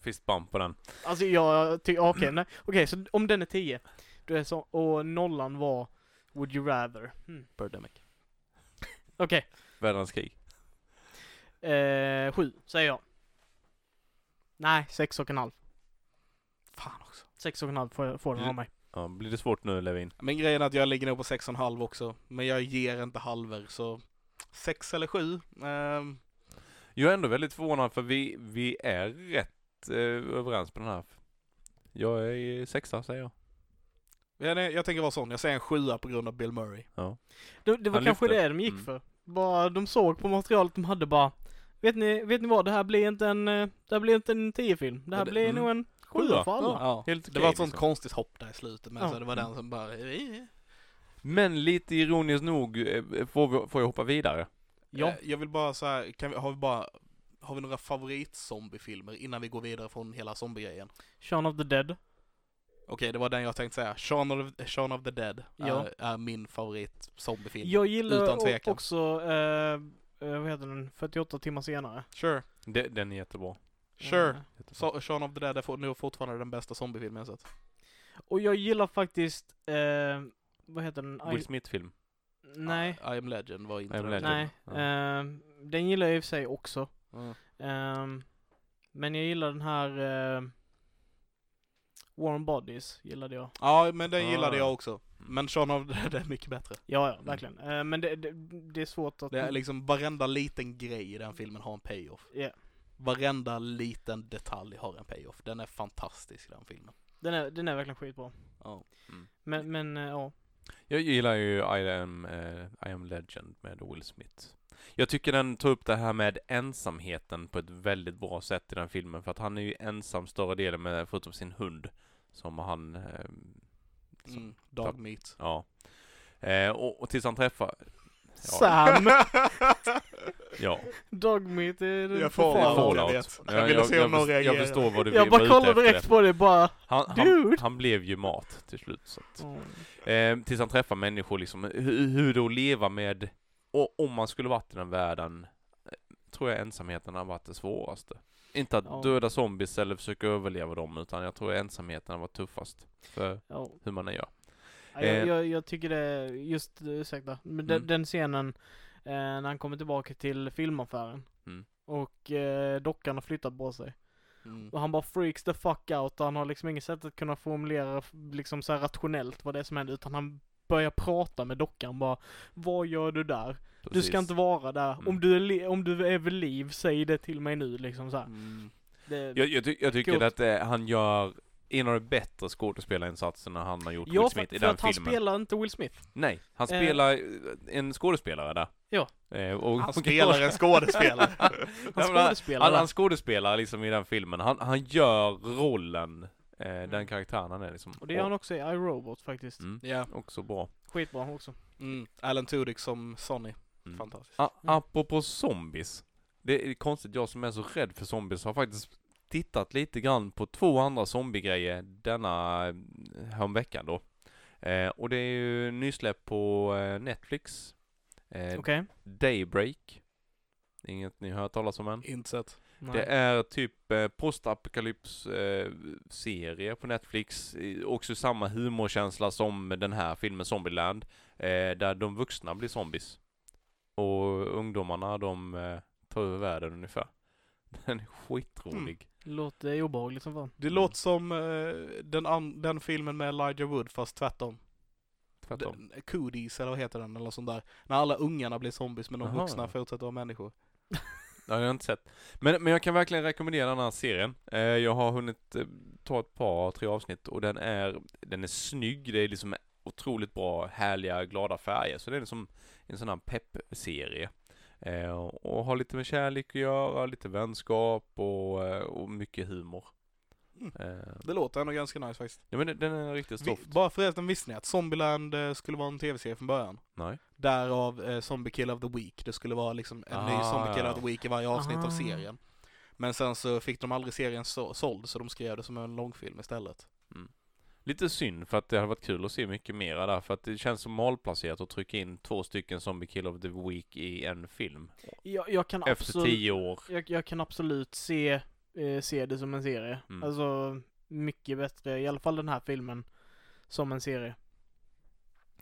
Fist bump på den. Alltså jag tycker, okej, nej. Okej, så om den är 10, då är så, och nollan var Would you rather? Hmm. Birdemic. Okej, Världens krig. eh, 7 säger jag. Nej, sex och en halv. Fan också. Sex och en halv får, får den av mig. Ja, blir det svårt nu Levin? Men grejen är att jag ligger nog på 6,5 också. Men jag ger inte halver så 6 eller 7. Ehm, Jag är ändå väldigt förvånad för vi, vi är rätt eh, överens på den här. Jag är sexa säger jag. jag, nej, jag tänker vara sån, jag säger en 7 på grund av Bill Murray. Det, det var Han kanske lyfte. det de gick Mm. för. Bara, de såg på materialet de hade bara Vet ni, vet ni vad? Det här blir inte en, eh, det här blir inte en 10-film. Det här Ja, det- blir mm. nog en Sjua. sjua för alla. Ja. Helt Det okej, var ett sånt liksom. konstigt hopp där i slutet men Ja. så det var Mm. den som bara... Men lite ironiskt nog eh, får, vi, får jag hoppa vidare. Ja. Eh, Jag vill bara så här, kan vi, har vi bara, har vi några favoritzombiefilmer innan vi går vidare från hela zombiegrejen? Shaun of the Dead. Okej, det var den jag tänkte säga. Shaun of, Shaun of the Dead Ja. är, är min favorit zombiefilm. Jag gillar Utan o- tvekan. också, eh, eh, vad heter den, 48 timmar senare. Sure, De, den är jättebra. sure. Eh, jättebra. So, Shaun of the Dead är for, nu fortfarande den bästa zombiefilmen jag sett. Och jag gillar faktiskt, eh, vad heter den? I- Will Smith-film. nej. I, I am legend var inte I Am den. Legend. Nej. Ja. ehm, den gillar jag i och för sig också. Mm. Ehm, men jag gillar den här ehm, Warm Bodies, gillade jag. Ja, men den gillade Ah. jag också. Men Shaun of the Dead är mycket bättre. Ja, ja, verkligen. Ehm, men det, det, det är svårt att... Mm. Det är liksom varenda liten grej i den filmen har en payoff. Ja. Varenda liten detalj har en payoff. Den är fantastisk den filmen. den, är, den är verkligen skitbra. Ja. mm. Men, men eh, ja. Jag gillar ju I am, eh, I am Legend med Will Smith. Jag tycker den tar upp det här med ensamheten på ett väldigt bra sätt i den filmen för att han är ju ensam större delen med, förutom sin hund som han eh, liksom, Mm. Dog meat. ja. Eh, och, och tills han träffar, Mm. Sam! ja. Dogmeat är det Jag får förfärliga. Fallout. Fallout. Jag vet. Jag ville se om någon först- reagerar. Jag förstår vad du Jag vill bara vara ute kollar efter. direkt på det bara. Han, han, Dude! han blev ju mat till slut. Så att, Mm. eh, tills han träffar människor liksom, hur, hur det är att leva med, och om man skulle varit i den världen, eh, tror jag ensamheten har varit det svåraste. Inte att Ja. döda zombies eller försöka överleva dem, utan jag tror ensamheten har varit tuffast för Ja. hur man än gör. Ja, Jag, Eh. jag, jag tycker det, just, eh, ursäkta, men den, Mm. den scenen eh, när han kommer tillbaka till filmaffären Mm. och eh, dockan har flyttat på sig Mm. och han bara freaks the fuck out och han har liksom inget sätt att kunna formulera f- liksom så här rationellt vad det är som händer utan han börjar prata med dockan bara Vad gör du där? Du ska Precis. inte vara där. Mm. Om, du är li- om du är vid liv, säg det till mig nu liksom så här. Mm. Det, Jag, jag, ty- jag tycker Coolt. att eh, han gör en av de bättre skådespelarinsatserna han har gjort, ja, Will för, Smith, i för den att han filmen. spelar inte Will Smith. Nej, han Eh. spelar en skådespelare där. Ja. Eh, och, Han spelar en skådespelare. Han Ja, men han- skådespelar. Han, han skådespelar liksom i den filmen. Han, han gör rollen, eh, den karaktären han är liksom. Mm. och det gör han också i I, Robot faktiskt. Mm, ja. också bra. Skitbra också. Mm. Alan Tudyk som Sonny. Mm. Fantastiskt. A- apropå zombies. Det är konstigt, jag som är så rädd för zombies har faktiskt tittat lite grann på två andra zombiegrejer denna eh, häromveckan då. Eh, och det är ju nysläpp på eh, Netflix. Eh, Okej. Daybreak. Inget ni har hört talas om än? Inte sett. Nej. Det är typ eh, postapokalyps-serie på Netflix. Eh, Också samma humorkänsla som den här filmen Zombieland. Eh, där de vuxna blir zombies. Och ungdomarna de eh, tar över världen ungefär. Den är skitrolig. Mm. Låter obehagligt som fan. Det låter som eh, den, an- den filmen med Elijah Wood fast tvärtom. Tvärtom. Den- Cooties eller vad heter den eller sånt där. När alla ungarna blir zombies men de Aha. vuxna fortsätter vara människor. Det har jag inte sett. Men, men jag kan verkligen rekommendera den här serien. Eh, jag har hunnit eh, ta ett par, tre avsnitt och den är, den är snygg. Det är liksom otroligt bra, härliga, glada färger. Så det är liksom en sån här pepp-serie. Eh, och har lite med kärlek att göra, lite vänskap och, eh, och mycket humor. Mm. Eh, Det låter ändå ganska nice faktiskt. ja men den- den är riktigt Vi, stoft. bara förresten, visste ni att Zombieland eh, skulle vara en tv-serie från början? Nej. Därav eh, Zombie Kill of the Week. Det skulle vara liksom en ny Ah, Zombie Kill ja. of the Week i varje avsnitt Ah. av serien. Men sen så fick de aldrig serien så- såld så de skrev det som en långfilm istället. Lite synd för att det hade varit kul att se mycket mera där för att det känns som malplacerat att trycka in två stycken Zombie Kill of the Week i en film. Jag, jag kan Efter absolut, tio år. jag, jag kan absolut se, eh, se det som en serie. Mm. Alltså, mycket bättre, i alla fall den här filmen, som en serie.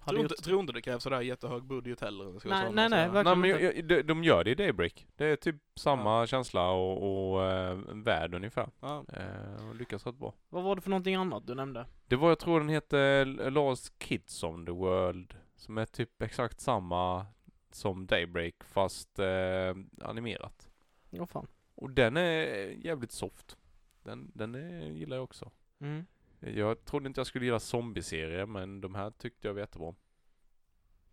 Hade Tror gjort- inte, tror inte det krävs sådär jättehög budget heller. om jag ska vara Nej, sann och nej, nej, säga. verkligen. Nej men inte. jag, jag, de, de gör det i Daybreak. Det är typ samma känsla och, och eh, värld ungefär. Ja. Eh, och lyckas rätt bra. Vad var det för någonting annat du nämnde? Det var, jag tror den hette Last Kids on the World. Som är typ exakt samma som Daybreak fast eh, animerat. Ja, fan. Och den är jävligt soft. Den, den är, gillar jag också. Mm. Jag trodde inte jag skulle gilla zombieserier men de här tyckte jag var jättebra om.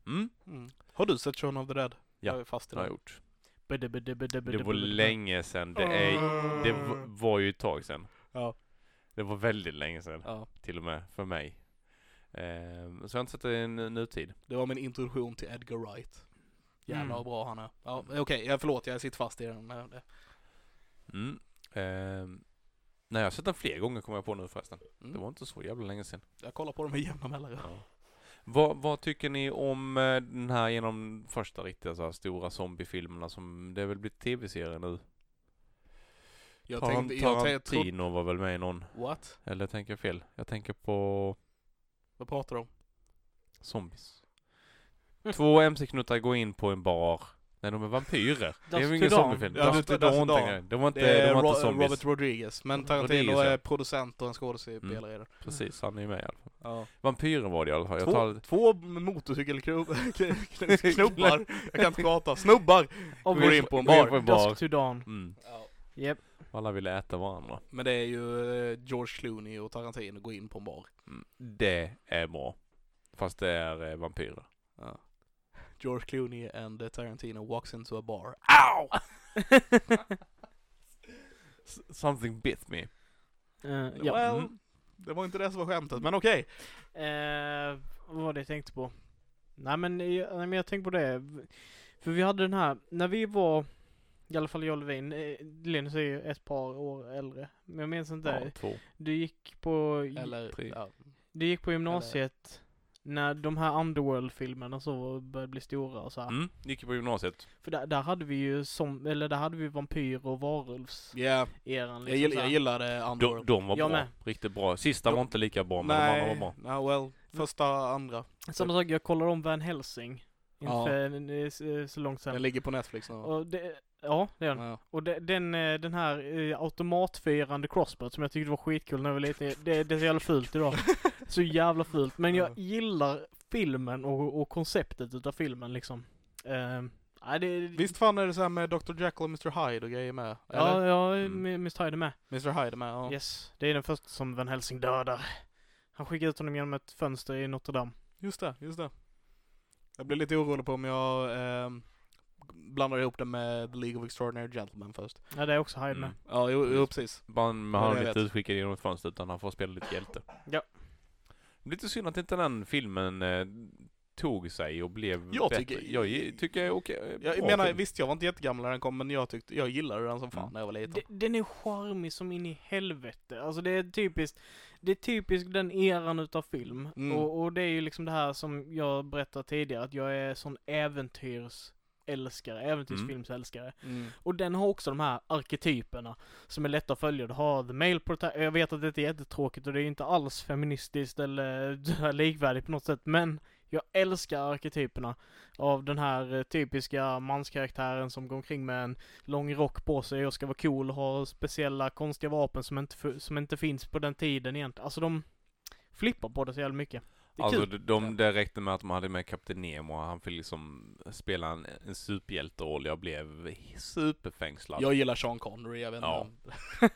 Mm, Mm. Har du sett Shaun of the Dead? Ja. Jag är fast i det har den. jag gjort. Bede, bede, bede, bede, Det var bede, bede. länge sedan. Det, är, det v- var ju ett tag sedan. Ja. Det var väldigt länge sedan. Ja. till och med för mig. Eh, Eh, så jag har inte sett det i nu- nutid. Det var min introduktion till Edgar Wright. Jävlar Mm. vad bra han är. Ja, Okej, jag förlåt, jag sitter fast i den. Men det- Mm. Eh, nej, jag har sett den fler gånger kommer jag på nu förresten. Mm. Det var inte så jävla länge sedan. Jag kollar på dem med jämna mellanrum. Ja. Vad, vad tycker ni om eh, den här genom första riktiga så här stora zombiefilmerna som det har väl blivit tv-serier nu? Jag Taran- tänkte, jag, tänkte- jag trodde... Tarantino var väl med i någon? What? Eller tänker jag fel? Jag tänker på Vad pratar du om? zombies. Två mc-knuttar går in på en bar. Nej, de är vampyrer. det är Dusk ju to ingen Dawn. zombiefilm. Ja, Dust to Dust to Dawn Dawn. tänker jag. De var inte, Det är de var Ro- inte zombies. Robert Rodriguez, men Rodriguez, Tarantino ja. är producent och en skådespelare i det. Precis, han är ju med i alla fall. Ja. Vampyrer var det i alla fall. Jag Två, tar... två motorcykelknubbar, jag kan inte prata, snubbar! Och Går in på en går in bar. på en bar. Dusk to Dawn. Mm. Yep. Alla ville äta varandra. Men det är ju eh, George Clooney och Tarantino går in på en bar. Mm. Det är bra. Fast det är eh, vampyrer. George Clooney and eh, Tarantino walks into a bar. S- Something bit me. Eh, ja. Well, Mm. det var inte det som var skämtet, men okej. Eh, vad var det jag tänkte på? Nej men, jag, nej men jag tänkte på det. För vi hade den här, när vi var, i alla fall jag och Levin, eh, Linus är ju ett par år äldre. Men jag minns inte. Ja, två. Du gick på, Eller, Tre. ja. du gick på gymnasiet när de här Underworld-filmerna så började bli stora och så här. Mm. Gick ju på gymnasiet. För där, där hade vi ju som, eller där hade vi vampyr och varulvs Yeah. eran Jag, gill, så jag här. gillade Underworld. De, de var Jag bra. med. Riktigt bra. Sista De- var inte lika bra, men de andra var Nej, bra. ja, well, första, andra. Samma sak, jag kollade om Van Helsing. Ja. Inför, eh, så- så långt Den sen. ligger på Netflix nu. va? Och det, ja, det är den. Ja. Och de, den, eh, den här eh, automatfyrande crossbot som jag tyckte var skitkul när jag var liten, det, det är så jävla fult idag. Så jävla fult. Men jag Ja. gillar filmen och, och konceptet utav filmen liksom. Uh, nej, det, Visst fan är det så här med Dr. Jekyll och Mr. Hyde och grejer med? Eller? Ja, ja, Mm. mm. Mr Hyde är med. Mr. Hyde är med, ja. Yes, det är den första som Van Helsing dödar. Han skickar ut honom genom ett fönster i Notre Dame. Just det, just det. Jag blir lite orolig på om jag ehm, blandar ihop det med The League of Extraordinary Gentlemen först. Ja, det är också Hyde med. Mm. Ja, jo, jo precis. Man, Ja, han jag är inte vet. utskickad genom ett fönster utan han får spela lite hjälte. Ja. Det är lite synd att inte den filmen eh, tog sig och blev Jag bättre. tycker- jag ge- tycker jag är okej. eh, Jag bra menar, film. visst jag var inte jättegammal när den kom, men jag tyckte, jag gillade den som fan Mm. när jag var liten. D- Den är charmig som in i helvete. Alltså det är typiskt, det är typiskt den eran utav film. Mm. Och, och det är ju liksom det här som jag berättade tidigare, att jag är sån äventyrsälskare, äventyrsfilmsälskare. Mm. Och den har också de här arketyperna som är lätta att följa. Du har the male protagonist, jag vet att det är jättetråkigt och det är inte alls feministiskt eller likvärdigt på något sätt, men jag älskar arketyperna av den här eh, typiska manskaraktären som går omkring med en lång rock på sig och ska vara cool och ha speciella konstiga vapen som inte, fu- som inte finns på den tiden egentligen. Alltså de flippar på det så jävla mycket. Det är Alltså kul. de, de, det räckte med att man hade med Kapten Nemo och han fick liksom spela en, en superhjälteroll. Jag blev superfängslad. Jag gillar Sean Connery, jag vet inte. Ja. om- Ja,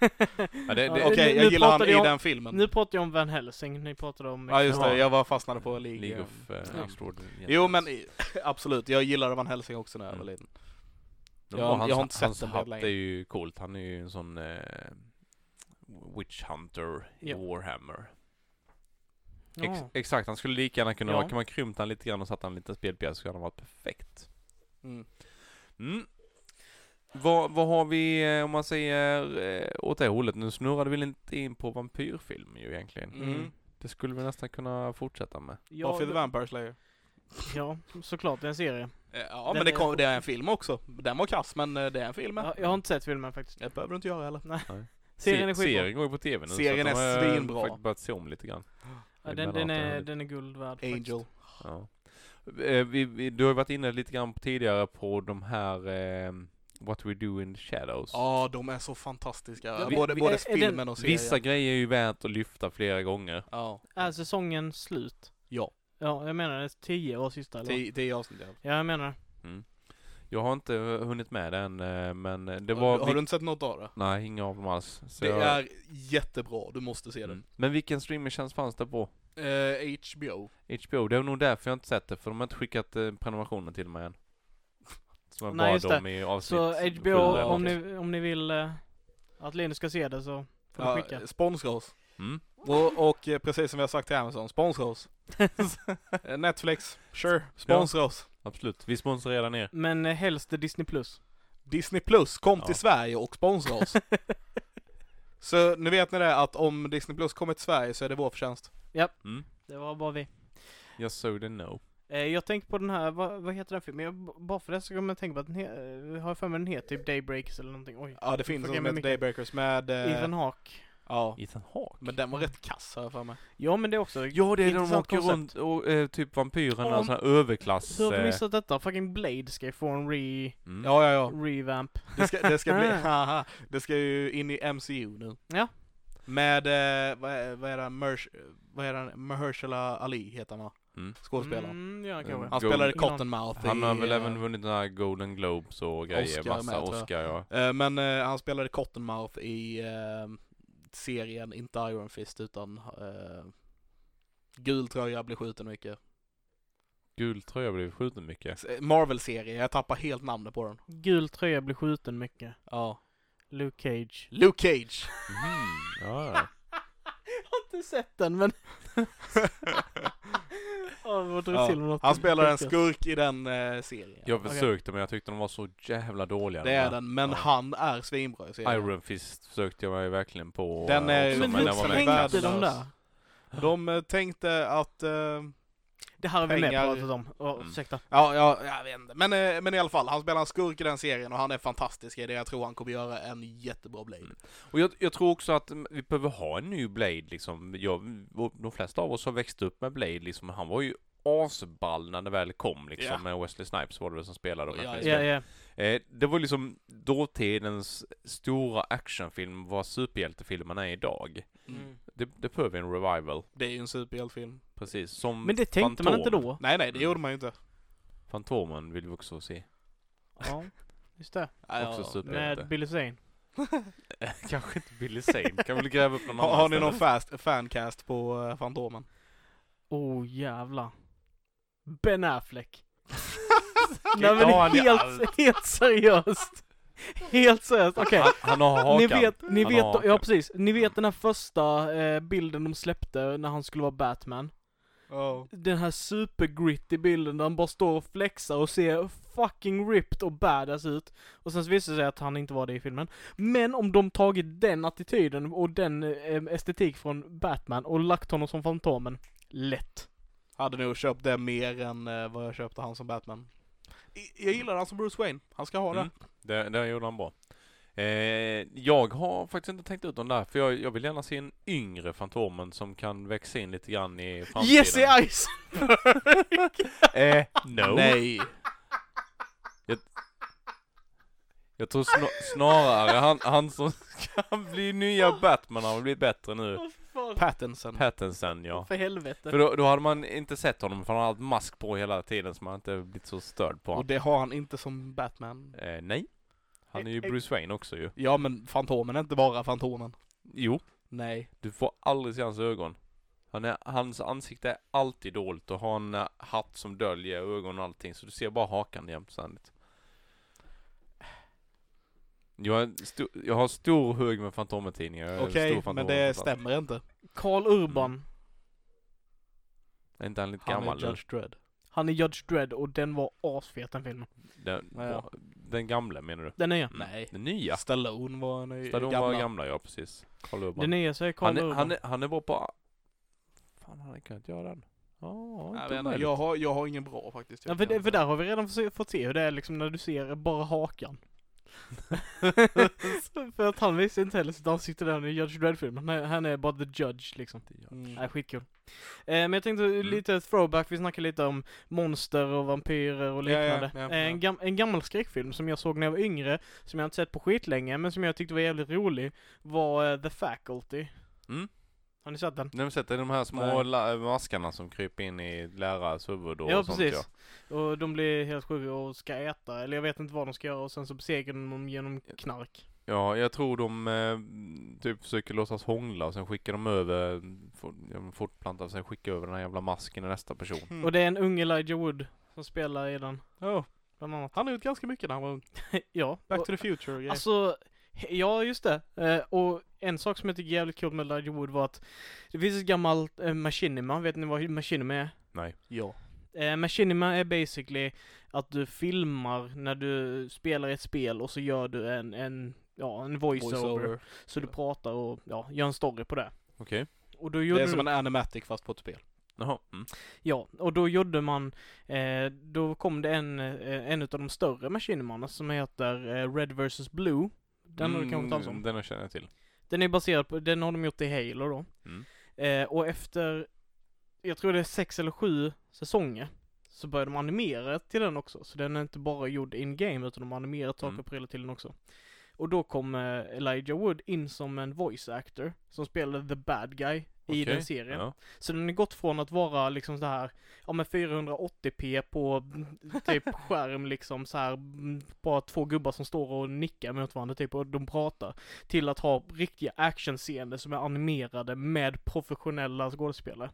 det, det, Ja, Okej, nu- nu jag gillar han pratar i jag- den filmen. Nu pratar jag om Van Helsing, ni pratade om... ja just det, Ja. jag var fastnade på League. Mm. League of eh, Ja. Extraordinary Jo men Gentlemen. i- absolut, jag gillade Van Helsing också när jag var Mm. liten. Men jag- bara hans- jag har inte sett Hans den på hatt länge. är ju coolt. Han är ju en sån eh, Witch Hunter i Ja. Warhammer. Ja. Ex- exakt, han skulle lika gärna kunna, Ja. kan man krympt han lite grann och satt han en liten spelpjäs så hade han varit perfekt. Mm. Mm. Vad, vad har vi, eh, om man säger eh, åt det hållet, nu snurrade vi inte in på vampyrfilm ju egentligen. Mm. Mm. Det skulle vi nästan kunna fortsätta med. Ja, Buffy the Vampire Slayer. ja, såklart, det är en serie. Eh, Ja Den men det, är- kom, det är en film också. Den var kass men eh, det är en film. Ja, jag har inte sett filmen faktiskt. Det behöver du inte göra heller. Serien är Se- skitbra. serien går ju på tv nu Serien så att de är har, eh, svinbra. faktiskt börjat se om lite grann. Ja, den, den, är, den är guld värd faktiskt. Angel. Ja. Eh, Vi, vi, du har ju varit inne lite grann tidigare på de här eh, What We Do In The Shadows. Ja, de är så fantastiska. Ja, vi- både vi- både är- är filmen den- och serien. Vissa grejer är ju värt att lyfta flera gånger. Ja. Är säsongen slut? Ja. Ja, jag menar det är tio år sista eller? Tio, tio avsnitt. Ja. Ja, jag menar det. Jag har inte hunnit med den, eh, men det var... Har, har vil- du inte sett något av det? Nej, inga av dem alls. Så Det jag... är jättebra, du måste se den. Mm. Men vilken streamingtjänst fanns det på? Eh, HBO. HBO? Det är nog därför jag inte sett det, för de har inte skickat eh, prenumerationen till mig än. Som jag Nej, bad just det. om i avsnitt Så sju HBO, eller om något. ni, om ni vill eh, att Linus ska se det så får ni Ja, skicka. sponsra oss. Mm. Och, och eh, precis som vi har sagt till Amazon, sponsra oss. Eh, Netflix, sure, sponsra oss. Absolut. Vi sponsrar redan er. Men eh, helst Disney+. Plus. Disney Plus, kom Ja. till Sverige och sponsra oss. så nu vet ni det att om Disney Plus kommer till Sverige så är det vår förtjänst. Mm. Det var bara vi. Just so they know. Eh, jag tänker på den här, vad, vad heter den filmen? Jag, b- bara för det så kommer jag tänka på att den he- eh, har jag för mig den heter typ Daybreakers eller någonting. Oj. Ja, det finns Fucka en som med heter mycket. Daybreakers med... eh, Ethan Hawke. ja, Ethan Hawke? men den var rätt kass har jag för mig. Ja men det är också... Ja, det är de Intressant åker koncept. runt och eh, typ vampyrerna, Om- och sån här överklass... Hur har vi eh, missat detta? Fucking Blade ska ju få en re... mm. Ja, ja, ja. revamp. Det ska, det ska bli... haha, det ska ju in i MCU nu. Ah. Ja. Med, eh, vad är, vad är det, Mersh, vad är det, Mahershala Ali heter han va? Mm. Skådespelaren. Mm, ja kanske. Mm. Han Gold- spelade Innan- Cottonmouth Han har i, väl eh, även vunnit den här Golden Globes och grejer, Oscar med, massa tror jag. Oscar ja. Eh, Men eh, han spelade Cottonmouth i eh, serien, inte Iron Fist utan eh, gul tröja, blir skjuten mycket. Gul tröja blev skjuten mycket. S- Marvel-serie, jag tappar helt namnet på den. Gul tröja blir skjuten mycket. Ja. Luke Cage. Luke Cage! Mm. Ja. Jag har inte sett den men... oh, vad drog Ja, till med något Han spelar en sjukt. skurk i den eh, serien. Jag Okej. försökte men jag tyckte de var så jävla dåliga. Det de är här. den, men Ja. han är svinbra i serien. Iron Fist försökte jag mig verkligen på. Den eh, är- också, Men men hur den var med i värdelös. tänkte klass. de där? De eh, tänkte att, eh, Det här har vi Pengar- mer pratat om. Oh, Mm. ursäkta. ja, ja, jag vet inte. Men, eh, men i alla fall, han spelar en skurk i den serien och han är fantastisk i det. Jag tror han kommer göra en jättebra Blade. Mm. Och jag, jag tror också att mm, vi behöver ha en ny Blade liksom. Jag, och de flesta av oss har växt upp med Blade liksom. Han var ju asball när det väl kom liksom. Ja. Med Wesley Snipes var det väl som spelade. och Ja, Wesley Ja, Snipes. ja. Eh, det var liksom dåtidens stora actionfilm vad superhjältefilmerna är idag. Mm. Det, det behöver en revival. Det är ju en superhjältefilm. Precis. Som Men det tänkte man Fantom. inte då. Nej, nej, det gjorde man ju inte. Fantomen vill vi också se. Ja, just det. Nej, Också ja. superhjälte. Med Billy Zane. Kanske inte Billy Zane. Kan väl gräva upp någon Har, annan har ni någon istället. fast, fancast på eh, Fantomen? Oh jävlar. Ben Affleck. Nej men Ja, han är helt, allt. helt seriöst. Helt seriöst, okej. Han, han har hakan. Ni vet, ni Han vet, har ja hakan. precis. Ni vet den här första eh, bilden de släppte när han skulle vara Batman. Oh. Den här supergritty bilden där han bara står och flexar och ser fucking ripped och badass ut. Och sen så visar det sig att han inte var det i filmen. Men om de tagit den attityden och den eh, estetik från Batman och lagt honom som Fantomen. Lätt. Hade nog köpt det mer än eh, vad jag köpte han som Batman. I- Jag gillar han som Bruce Wayne. Han ska ha det. Mm. Det, det gjorde han bra. Eh, jag har faktiskt inte tänkt ut den där, för jag, jag vill gärna se en yngre Fantomen som kan växa in lite grann i framtiden. Jesse Ice! eh, no. Nej. Jag tror sna- snarare han, han som ska bli nya Batman, han har blivit bättre nu. Åh, fan. Pattinson. Pattinson ja. För helvete. För då, då hade man inte sett honom, för han har haft mask på hela tiden, så man har inte blivit så störd på Och honom. det har han inte som Batman. Eh, nej. Han Eh, är ju Bruce Wayne också ju. Ja men Fantomen är inte bara Fantomen. Jo, Nej. du får aldrig se hans ögon. Han är, hans ansikte är alltid dolt och har en eh, hatt som döljer ögon och allting, så du ser bara hakan jämt ständigt. Jag, har en sto- jag har stor hög med Fantomen-tidningar. Jag är en Okej, stor Fantomen- men det stämmer inte. Carl Urban. Är inte han lite Han gammal är nu? Judge Dredd. Han är Judge Dredd och den var asfet den filmen. Den, Ja, ja. den gamla menar du? Den nya. Mm. Nej. Den nya? Stallone var en i- Stallone gamla. var gamla ja, precis. Karl Urban. Den nya så är Carl han, Urban. är, han, är, han är bra på... Fan, han hade kunnat göra den. Ja, Jag, inte vet inte, omöjligt. jag, har, jag har ingen bra faktiskt. ja, för, det- för där har vi redan fått se- fått se hur det är liksom när du ser bara hakan. för att han visar inte heller sitt ansikte där i Judge Dredd-filmen. Han, är- han är bara the judge liksom. Mm. Nej, skitkul. Eh, men jag tänkte lite throwback, vi snackade lite om monster och vampyrer och Ja, ja, liknande. ja, ja. Eh, En, gam- en gammal skräckfilm som jag såg när jag var yngre, som jag inte sett på skitlänge, men som jag tyckte var jävligt rolig, var eh, The Faculty. Mm. Har ni sett den? När vi sätter de här små Nej. la- maskarna som kryper in i lärares huvud och Ja, sånt precis. Och de blir helt sjuka och ska äta, eller jag vet inte vad de ska göra, och sen så besegrar de dem genom knark. Ja, jag tror de eh, typ försöker låtsas hångla och sen skickar de över, for, ja, men fortplantar och sen skickar över den här jävla masken till nästa person. Mm. Och det är en ung Elijah Wood som spelar i den, Ja, bland annat. han har gjort ganska mycket när han var ung. ja. Back och, to the future och grejer. alltså, Ja, just det. Eh, och en sak som jag tycker är jävligt kul med Elijah Wood var att det finns ett gammalt eh, Machinima, vet ni vad Machinima är? Ja. Eh, machinima är basically att du filmar när du spelar ett spel och så gör du en, en, ja, en voiceover. Voiceover. så du pratar och ja, gör en story på det. Okej. Och då Det gjorde är som du, en animatic fast på ett spel. Jaha. Mm. ja, och då gjorde man, eh, då kom det en, eh, en av de större machinimarna som heter eh, Red vs Blue. Den har du kanske hört talas om? Mm, Den känner jag till. Den är baserad på, den har de gjort i Halo då. Mm. Eh, och efter, jag tror det är sex eller sju säsonger, så började de animera till den också. Så den är inte bara gjord in-game, utan de har animerat saker Mm. på hela till den också. Och då kom eh, Elijah Wood in som en voice actor, som spelade the bad guy i Okej, den serien. Ja. Så den har gått från att vara liksom så här, ja men 480p på mm, typ skärm liksom så här, mm, bara två gubbar som står och nickar mot varandra typ och de pratar, till att ha riktiga actionscener som är animerade med professionella skådespelare.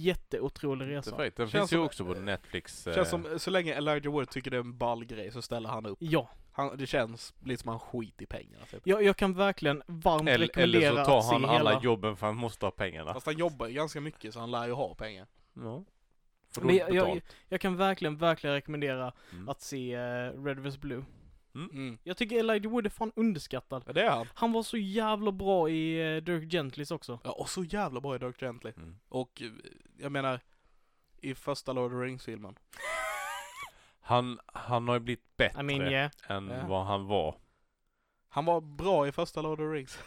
Jätteotrolig Det är resa. fräckt. Den Känns finns ju som- också på Netflix. Känns eh, som, så länge Elijah Wood tycker det är en ball grej så ställer han upp. Ja, Han, det känns lite som han skit i pengarna typ. jag, jag kan verkligen varmt eller, eller rekommendera så att tar se han alla hela... jobben för han måste ha pengarna. Fast han jobbar ju ganska mycket så han lär ju ha pengar. Ja. Får Men jag, dåligt jag, betalt. jag kan verkligen, verkligen rekommendera Mm. att se eh, Red vs Blue. Mm. Jag tycker Elijah Wood är fan underskattad. Ja, det är han. Han var så jävla bra i eh, Dirk Gentlys också. Ja, och så jävla bra i Dirk Gently. Mm. Och eh, jag menar, i första Lord of the Rings-filmen. Han, han har ju blivit bättre I mean yeah. än Ja. vad han var. Han var bra i första Lord of the Rings.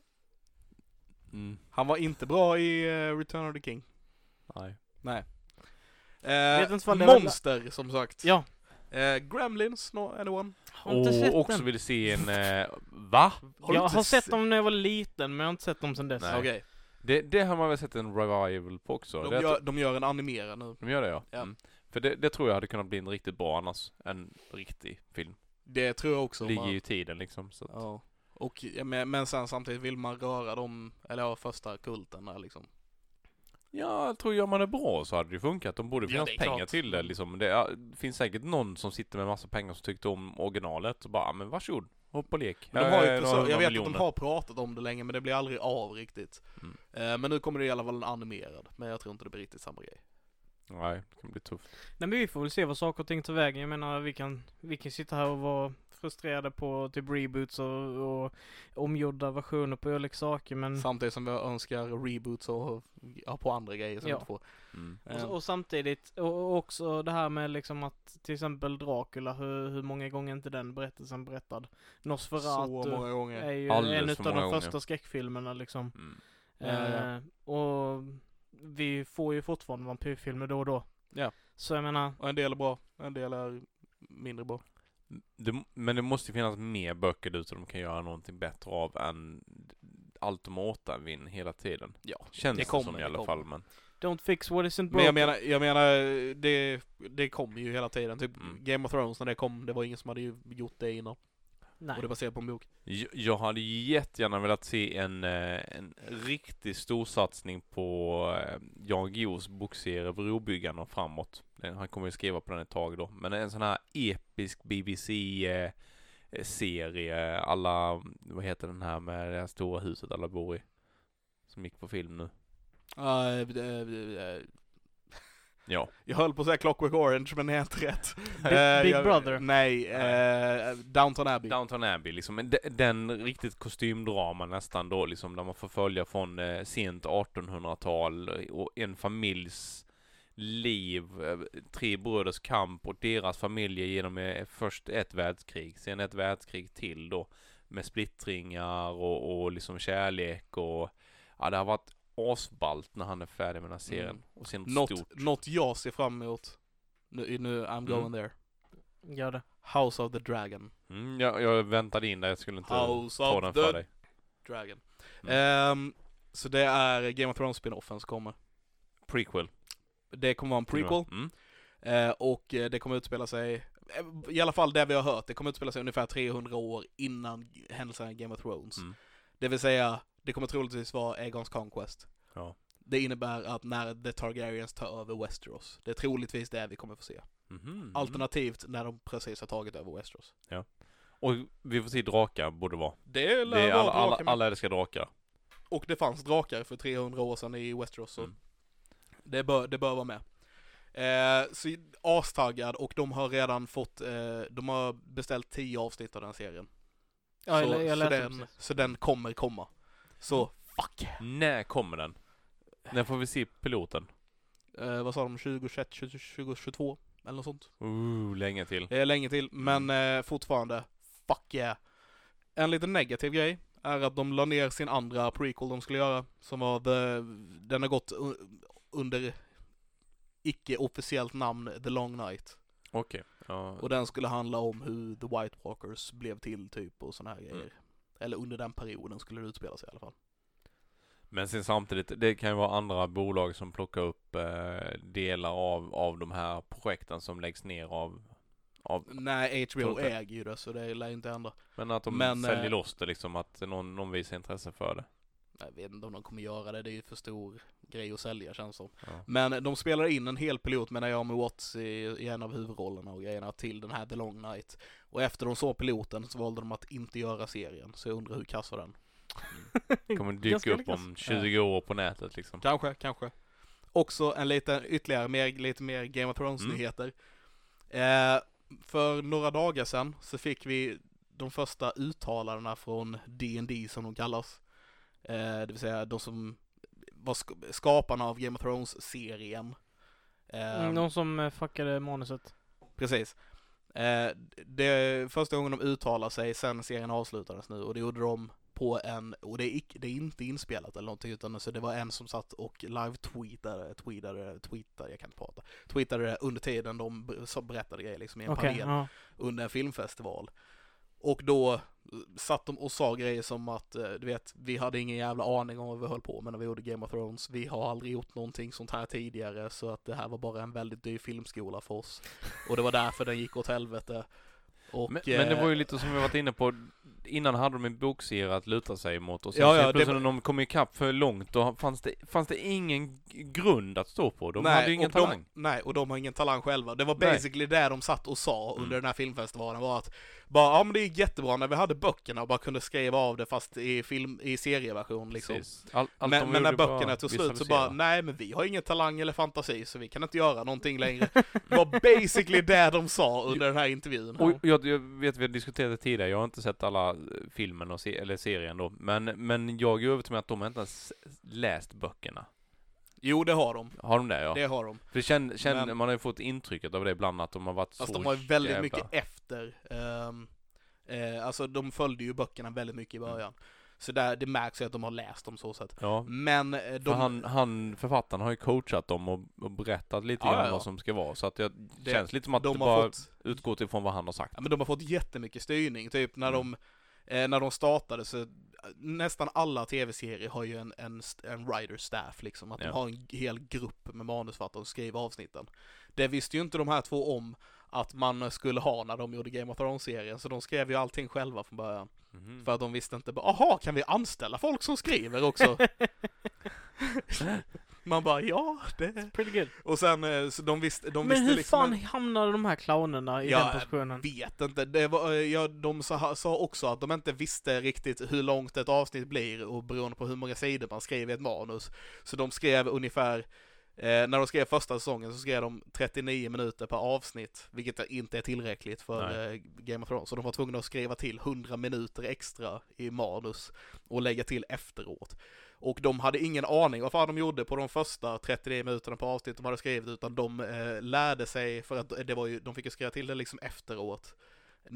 Mm. Han var inte bra i eh, Return of the King. Nej. Eh, inte ifall det var- monster, som sagt. Ja. Eh, Gremlins, no, anyone? Har inte sett Och också den. vill se en... Eh, va? du Jag inte har sett se- dem när jag var liten men jag har inte sett dem sedan dess. Nej. Okej, Det, det har man väl sett en revival på också? de, det typ- gör, de gör en animerad nu. de gör det ja. Ja. Mm. För det, det tror jag hade kunnat bli en riktigt bra annars. En riktig film. Det tror jag också. Ligger man- ju i tiden liksom. Så att, Ja. Och, ja, men, men sen samtidigt vill man röra dem, eller ja, första kulten där liksom. Ja, jag tror gör man det bra så hade det ju funkat. De borde Ja, finnas det är pengar klart. till det liksom. Det är, finns säkert någon som sitter med massa pengar som tyckte om originalet och bara, "Ah, men varsågod, hoppa och lek. Men de har Eh, ju några försökt, jag hundra vet att miljoner." de har pratat om det länge men det blir aldrig av riktigt. Mm. Eh, men nu kommer det i alla fall en animerad, men jag tror inte det blir riktigt samma grej. Nej, det kan bli tufft. Nej men vi får väl se vad saker och ting tar vägen. Jag menar vi kan, vi kan sitta här och vara frustrerade på typ reboots och, och omgjorda versioner på olika saker men Samtidigt som jag önskar reboots och ja, på andra grejer som Ja. ja. inte får. Mm. och, Eh, och samtidigt, och och också det här med liksom att till exempel Dracula, hur, hur många gånger är inte den berättelsen berättad? så Nosferatu många gånger. är ju Alldeles en för utav många de gånger. första skräckfilmerna liksom. Mm. Ja, ja. Eh, och vi får ju fortfarande vampyrfilmer då och då. Ja. Så jag menar, Och en del är bra, en del är mindre bra. Det, men det måste ju finnas mer böcker där ute de kan göra någonting bättre av än allt de återvinner hela tiden. Ja. Känns Det det, kommer, som i det alla kommer. fall, men. don't fix what isn't broken. Men jag menar, jag menar det, det kommer ju hela tiden. Typ Mm. Game of Thrones när det kom, det var ingen som hade ju gjort det innan. Nej. Och det baserat på en bok. J- Jag hade jättegärna velat se en, eh, en riktig storsatsning på eh, Jan Guillous bokserie Brobyggarna och framåt. Den, han kommer ju skriva på den ett tag då. Men en sån här episk BBC-serie, eh, alla, vad heter den här med det här stora huset alla bor i? Som gick på film nu. Eh, eh, eh, Ja. Jag höll på att säga Clockwork Orange men det är inte rätt. Big, Eh, Big jag- Brother. Nej, eh, Downton Abbey. Downton Abbey liksom, Men de- den riktigt kostymdrama nästan då liksom, där man får följa från eh, sent 1800-tal och en familjs liv, eh, tre bröders kamp och deras familjer genom eh, först ett världskrig, sen ett världskrig till då med splittringar och, och liksom kärlek och ja, det har varit asballt när han är färdig med den här serien. Mm. Och sen stort. Något, något jag ser fram emot. Nu, nu I'm going there. Gör det. House of the Dragon. Mm, jag, jag väntade in där, jag skulle inte House ta of den för the dig. Dragon. Mm. Ehm, så det är Game of Thrones spin-offen som kommer. Prequel. Det kommer vara en prequel. Mm. Eh, och eh, det kommer utspela sig, eh, i alla fall det vi har hört, det kommer utspela sig ungefär 300 år innan händelserna i Game of Thrones. Mm. Det vill säga, det kommer troligtvis vara Aegons Conquest. Ja. Det innebär att när The Targaryens tar över Westeros, det är troligtvis det vi kommer få se. Mhm. Alternativt när de precis har tagit över Westeros. Och vi får se drakar, borde vara. Det lär Det är vara alla, alla, drakar med. alla älskar drakar. Och det fanns drakar för 300 år sedan i Westeros så Mm. det, bör, det bör vara med. Eh, så astaggad och de har redan fått, eh, de har beställt 10 avsnitt av den serien. Ja, så, jag, jag så, läste den, precis. så den kommer komma. Så fuck! När kommer den? När får vi se piloten? Mm. Eh, vad sa de? 2021, 2022? Eller något sånt. Ooh, länge till. Det är länge till, Mm. men eh, fortfarande, fuck yeah. En liten negativ grej är att de la ner sin andra prequel de skulle göra, som var the, den har gått u- under icke-officiellt namn The Long Night. Okej. Ja. Och den skulle handla om hur The White Walkers blev till typ och såna här grejer. Mm. Eller under den perioden skulle det utspela sig i alla fall. Men sen samtidigt, det kan ju vara andra bolag som plockar upp eh, delar av, av de här projekten som läggs ner av, av Nej, Tror HBO inte. äger ju det så det lär ju inte hända. men att de Men, säljer eh, loss det liksom, att någon, någon visar intresse för det. Jag vet inte om de kommer göra det, det är ju för stor grej att sälja känns som. Ja. Men de spelar in en hel pilot menar jag med Watts i, i en av huvudrollerna och grejerna till den här The Long Night. Och efter de såg piloten så valde de att inte göra serien, så jag undrar hur kass var den? Kommer dyka Ganska upp lyckas. om 20 år på nätet liksom. Kanske, kanske. Också en liten, ytterligare mer, lite mer Game of Thrones-nyheter. Eh, för några dagar sedan så fick vi de första uttalandena från D&D som de kallas. Eh, det vill säga de som var sk- skaparna av Game of Thrones-serien. Eh, Mm, Någon som eh, fuckade manuset. Precis. Eh, det är första gången de uttalar sig sen serien avslutades nu och det gjorde de på en, och det är, ic- det är inte inspelat eller någonting utan så det var en som satt och live-tweetade, tweetade, tweetade, jag kan inte prata, tweetade det under tiden de b- så berättade grejer liksom i en Okej, panel ja. under en filmfestival. Och då eh, satt de och sa grejer som att, eh, du vet, vi hade ingen jävla aning om vad vi höll på med när vi gjorde Game of Thrones. Vi har aldrig gjort någonting sånt här tidigare så att det här var bara en väldigt dyr filmskola för oss. Och det var därför den gick åt helvete. Och, Men, men det eh, var ju lite som vi varit inne på, innan hade de en bokserie att luta sig mot och sen Ja, helt ja, det plötsligt var- när de kom ikapp för långt då fanns det, fanns det ingen g- grund att stå på. De nej, hade ju ingen och de- talang. nej, och de har ingen talang själva. Det var Nej. basically det de satt och sa under Mm. den här filmfestivalen var att bara, ja men det är jättebra när vi hade böckerna och bara kunde skriva av det fast i film, i serieversion liksom. Precis. All, allt de men, men när gjorde böckerna bara tog slut så visualisera. bara, nej men vi har ingen talang eller fantasi så vi kan inte göra någonting längre. Det var basically det de sa under den här intervjun. Och jag, jag vet, vi har diskuterat det tidigare, jag har inte sett alla eh, filmen och se, eller serien då, men, men jag är övertygad om att de inte ens läst böckerna. Jo, det har de. Har de det ja? Det har de. För känn, känn, Men- man har ju fått intrycket av det ibland att de har varit Fast så de var ju väldigt jävla- mycket efter. ehm, eh, alltså de följde ju böckerna väldigt mycket i Mm. början. Så där, det märks ju att de har läst dem så sätt. Ja. Men eh, För de... han, han, författaren har ju coachat dem och, och berättat lite Ja, grann ja, ja. vad som ska vara, så att jag, det Det- känns lite som att det de har bara fått... utgår ifrån vad han har sagt. Ja, men de har fått jättemycket styrning, typ Mm. när de eh, när de startade så eh, nästan alla tv-serier har ju en, en, st- en writer staff liksom, att Ja. de har en g- hel grupp med manusförfattare som skriver avsnitten. Det visste ju inte de här två om att man skulle ha när de gjorde Game of Thrones-serien, så de skrev ju allting själva från början. Mhm. Mm. För att de visste inte, bara, aha, kan vi anställa folk som skriver också? Man bara, ja, det... Pretty good. Och sen, eh, så de visste, de men visste hur liksom... fan hamnade de här clownerna i Ja, den positionen? vet inte. Det var, eh, ja, de sa, sa också att de inte visste riktigt hur långt ett avsnitt blir och beroende på hur många sidor man skrev i ett manus. Så de skrev ungefär, eh, när de skrev första säsongen så skrev de 39 minuter per avsnitt, vilket inte är tillräckligt för eh, Game of Thrones. Så de var tvungna att skriva till 100 minuter extra i manus och lägga till efteråt. Och de hade ingen aning vad fan de gjorde på de första 39 minuterna på avsnitt de hade skrivit utan de eh, lärde sig för att eh, det var ju, de fick ju skriva till det liksom efteråt.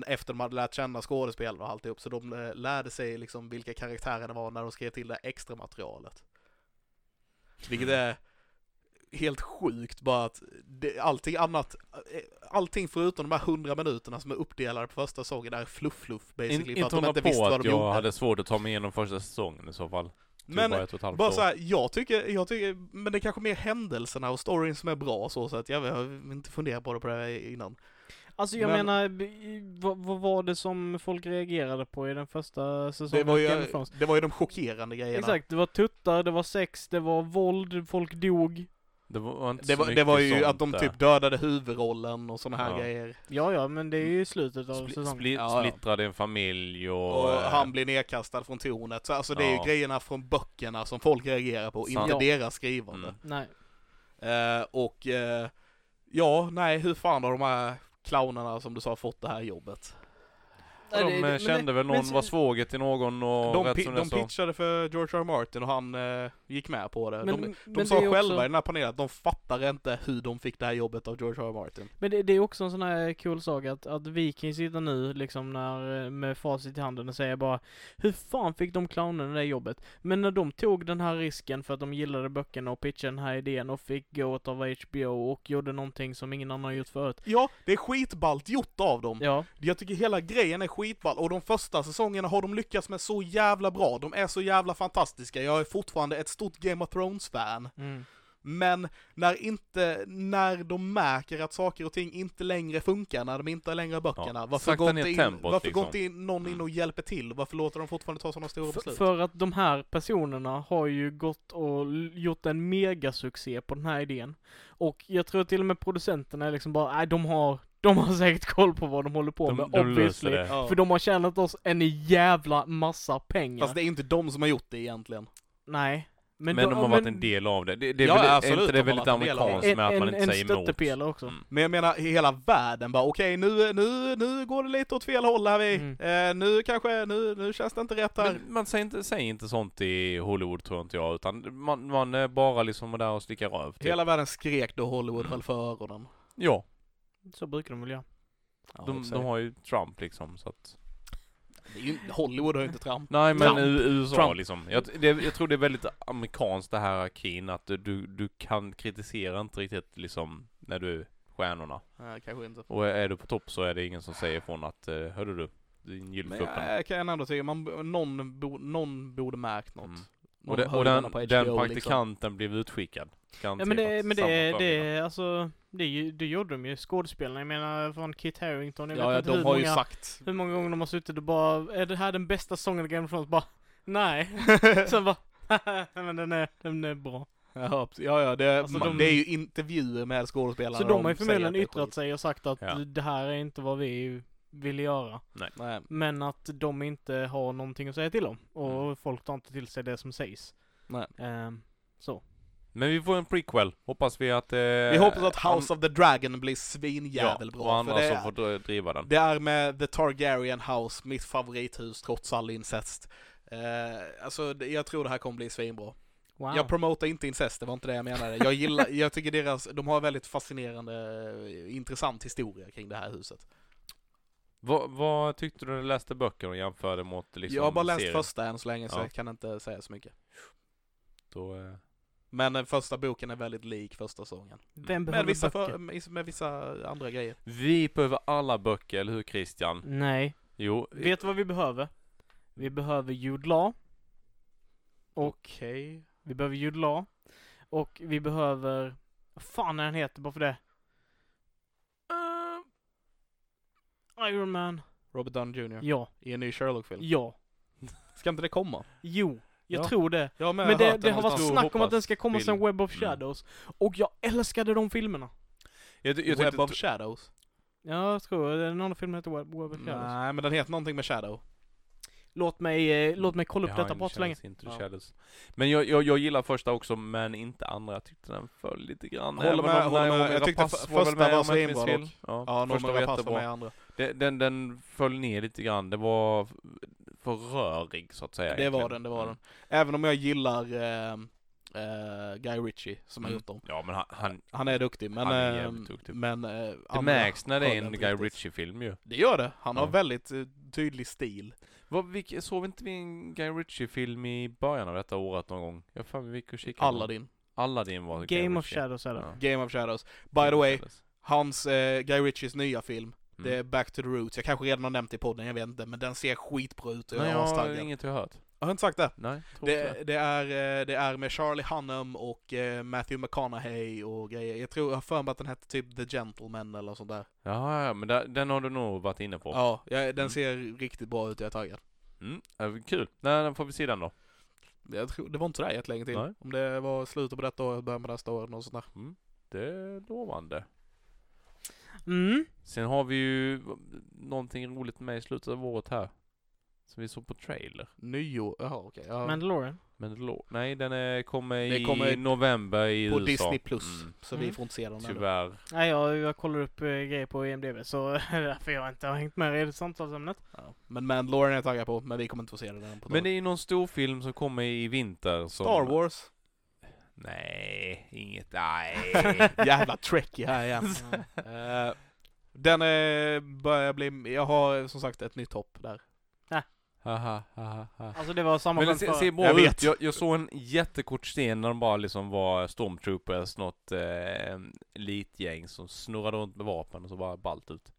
Efter de hade lärt känna skådespelarna och alltihop så de eh, lärde sig liksom vilka karaktärer det var när de skrev till det extra materialet. Vilket Mm. är helt sjukt bara att det, allting annat, eh, allting förutom de här 100 minuterna som är uppdelade på första säsongen är fluff-fluff In, basically inte för att de hålla inte på visste vad att de jag gjorde. hade svårt att ta mig igenom första säsongen i så fall. Tog Men bara, ett och ett halvt Bara år. så här, jag tycker, jag tycker, men det är kanske mer händelserna och storyn som är bra så, så att jag, jag har inte funderat på det på det här innan. Alltså jag Men- menar, b- vad, vad var det som folk reagerade på i den första Det säsongen var av Game ju, of Thrones? det var ju de chockerande grejerna. Exakt, det var tuttar, det var sex, det var våld, folk dog. Det var inte Det så var, det mycket var ju sånt att de där. typ dödade huvudrollen och såna här Ja. grejer. Ja, ja, men det är ju slutet av Spli- säsongen. spli- Ja, ja. Splittrade en familj och... Och eh, han blir nedkastad från tornet. Så alltså det är ju Ja. grejerna från böckerna som folk reagerar på, Sant. inte Ja. deras skrivande. Mm. Nej. Eh, och eh, ja, nej, hur fan har de här clownerna som du sa fått det här jobbet? De Nej, det- eh, men- kände väl men- någon var svåger till någon och De, rätt pi- som det de så- pitchade för George R. R. Martin och han eh, gick med på det. de men- de men sa det är själva i också- den här panelen att de fattar inte hur de fick det här jobbet av George R. R. Martin. Men det, det är också en sån här cool sak att, att vi kan ju sitta nu liksom när, eh, med facit i handen och säga bara Hur fan fick de clownerna det jobbet? Men när de tog den här risken för att de gillade böckerna och pitchade den här idén och fick gåt av HBO och gjorde någonting som ingen annan har gjort förut. Ja, det är skitballt gjort av dem. Ja, Jag tycker hela grejen är skitball och de första säsongerna har de lyckats med så jävla bra. De är så jävla fantastiska. Jag är fortfarande ett stort Game of Thrones-fan. mm. Men när inte, när de märker att saker och ting inte längre funkar, när de inte längre har böckerna, Ja, varför, sakta går ner inte, in, tempot, varför går liksom. inte in någon in och hjälper till? Varför låter de fortfarande ta sådana stora F- beslut? för att de här personerna har ju gått och l- gjort en megasuccé på den här idén. Och jag tror till och med producenterna är liksom bara, nej de har, de har säkert koll på vad de håller på de, med, de löser obviously. det. Ja. För de har tjänat oss en jävla massa pengar. Fast det är inte de som har gjort det egentligen. Nej. Men, de har varit en del av det. Det, det är Ja, väl, absolut, är inte det de har väldigt varit en del av det. amerikanskt med att man inte en, säger En emot? stöttepelare också. Mm. Men jag menar hela världen bara okej nu, nu, nu går det lite åt fel håll här vi. Mm. Eh, nu kanske, nu, nu känns det inte rätt här. Men man säger inte, säger inte sånt i Hollywood tror inte jag, utan man, man är bara liksom där och slickar röv. Typ. Hela världen skrek då Hollywood Mm. höll för öronen. Ja, Så brukar de väl göra. Ja, i och de, för sig. de har ju Trump liksom så att... Det är ju- Hollywood har ju inte tramp. Nej men Trump. U- USA Trump. liksom. Jag, det, jag tror det är väldigt amerikanskt det här Keen, att du, du kan kritisera inte riktigt liksom när du är stjärnorna. Nej, kanske inte. Och är du på topp så är det ingen som säger ifrån att, eh, hörde du, din Mm. Men eh, gyllfuppen. jag kan ändå tycka, man, någon, bo, någon borde märkt något. Mm. Någon Och, det, och höjde den, den på den HBO, praktikanten blev utskickad. Ja men det, Garanterat. men Samma liksom. det, förmiddag. det, alltså, det, är ju- det gjorde de ju. Skådespelarna, jag menar från Kit Harington, jag Ja, vet ja inte de hur, har många, ju sagt. hur många gånger de har suttit och bara, är det här den bästa sången i Game of Thrones? Bara, nej. Sen bara, men den är, den är bra. Ja, ja, ja det, Alltså, man, de- det är ju intervjuer med skådespelare. Så där de har ju säger att förmodligen det är yttrat skit. sig och sagt att Ja. det här är inte vad vi ville göra. Nej. Men att de inte har någonting att säga till om. Och folk tar inte till sig det som sägs. Mm. Nej. Ehm, så. Men vi får en prequel. Hoppas vi att... Eh, Vi hoppas att House of the Dragon blir svinjävel och bra. andra För det, som får dr- driva den. det är med The Targaryen House, mitt favorithus trots all incest. Eh, alltså det- jag tror det här kommer bli svinbra. Wow. Jag promotar inte incest, det var inte det jag menade. Jag gillar, jag tycker deras, de har väldigt fascinerande, eh, intressant historia kring det här huset. Vad, vad tyckte du när du läste böcker och jämförde mot liksom jag har bara läst serien? första än så länge så Ja. jag kan inte säga så mycket. Då, eh, Men den första boken är väldigt lik första säsongen. Vem behöver Med vissa, böcker? för, med vissa andra grejer. Vi behöver alla böcker, eller hur Christian? Nej. Jo, Vet du vad vi behöver? Vi behöver Jude Law. Och Okej. vi behöver Jude Law. Och vi behöver... Vad fan är han heter bara för det? Ehm, Iron Man. Robert Downey Jr. Ja. I en ny Sherlock-film. Ja. Ska inte det komma? Jo. Jag Ja. tror det. Jag har med Men det, hört det den har varit någonstans. stor snack om att den hoppas ska komma film. sen Web of Mm. Shadows. Och jag älskade de filmerna. jag, ty- jag tyckte... Web of Shadows? Ja, jag tror Den andra filmen heter Web, Web of Shadows. Nej, men den heter någonting med Shadow. Låt mig, eh, låt mig kolla upp Behind detta på så Shadows, länge. Into the Ja. Shadows. Men jag, jag, jag gillar första också, men inte andra. Jag tyckte den föll lite grann. Håller Även med, om håller med. Naomi Jag tyckte Rapace f- väl första med, var om jag inte svinbra minns fel. dock. Ja, Ja, någon första var jättebra. med andra. Den, den, den föll ner lite grann. Det var f- för rörig så att säga. Det var egentligen. den, det var Mm. den. Även om jag gillar ehm, eh, Guy Ritchie som har Mm. gjort dem. Ja men han, han Han är duktig, men... Han är ehm, jävligt duktig. Men... eh, det andra märks när det höll är en inte Guy riktigt. Ritchie-film ju. Det gör det. Han har Ja. väldigt eh, tydlig stil. Vad, vilk, såg vi inte vi en Guy Ritchie-film i början av detta året någon gång? Jag fan vi gick och kikade. på den. Aladdin. Aladdin var Game of Ritchie. Shadows är det. Ja. Game of Shadows. By the way, hans, eh, Guy Ritchies nya film, Mm. det är Back to the Roots. Jag kanske redan har nämnt det i podden, jag vet inte, men den ser skitbra ut och jag Nej, är jag har astaggad. inget jag hört. Jag har inte sagt det. Nej, tror inte Det, det, är, eh, det är med Charlie Hunnam och eh, Matthew McConaughey och grejer. Jag tror, jag har för mig att den hette typ The Gentleman eller sånt där. Ja, ja, men där, den har du nog varit inne på. Ja, jag, den Mm. ser riktigt bra ut, jag är taggad. eh, Mm, ja, kul. Nej, den får vi se den då. Jag tror, det var inte sådär jättelänge till. Nej. Om det var slutet på detta året, början på nästa år eller något sånt där. Det är lovande. Mm. Sen har vi ju någonting roligt med i slutet av året här. Som vi såg på trailer. Nyår, jaha okej. ja. Mandalorian. Men det lå- Nej, den är, kommer i Det kommer november i på USA. Disney Plus. Mm, Så vi Mm. får inte se den ännu. tyvärr. Nej, jag, jag kollar upp eh, grejer på IMDB så det är därför jag inte har hängt med i det samtalsämnet. Ja. Men Mandalorian är jag taggad på, men vi kommer inte få se den än på Men det är ju någon stor film som kommer i vinter som... Star Wars. Nej, inget. Nej. Jävla Trekkie här igen. Eh, den eh, börjar bli, jag har som sagt ett nytt hopp där. Haha, haha, haha. Alltså det var samma Men det skämt ser, förra. ser bra Jag ut. vet. Jag, jag såg en jättekort scen när de bara liksom var stormtroopers, något eh, elitgäng som snurrade runt med vapen och så bara ballt ut.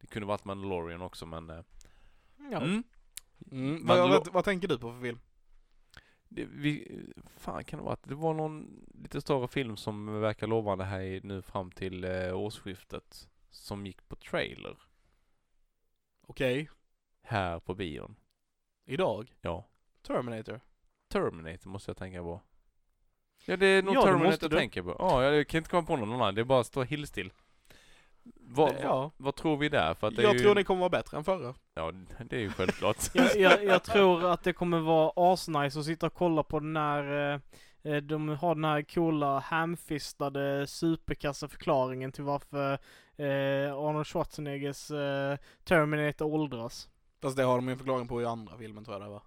Det kunde varit Mandalorian också men... Eh, Ja. mm. Mm. Vad, Mandalor- vad, vad tänker du på för film? Det, vi, fan kan det vara? Det var någon lite större film som verkar lovande här i, nu fram till eh, årsskiftet. Som gick på trailer Okej, här på bion. idag? Ja. Terminator. Terminator måste jag tänka på. Ja, det är nog Ja, det Terminator måste jag du. tänker på. Ja, jag kan inte komma på någon annan. Det är bara att stå helt still. Vad, Det- vad, ja. vad tror vi där? För att det Jag är tror ju, den kommer vara bättre än förra. Ja, det är ju självklart. Jag, jag, jag tror att det kommer vara asnice att sitta och kolla på den här, eh, eh, de har den här coola hamfistade superkassa förklaringen till varför eh, Arnold Schwarzeneggers eh, Terminator åldras. Fast det har de ju en förklaring på i andra filmen tror jag det var.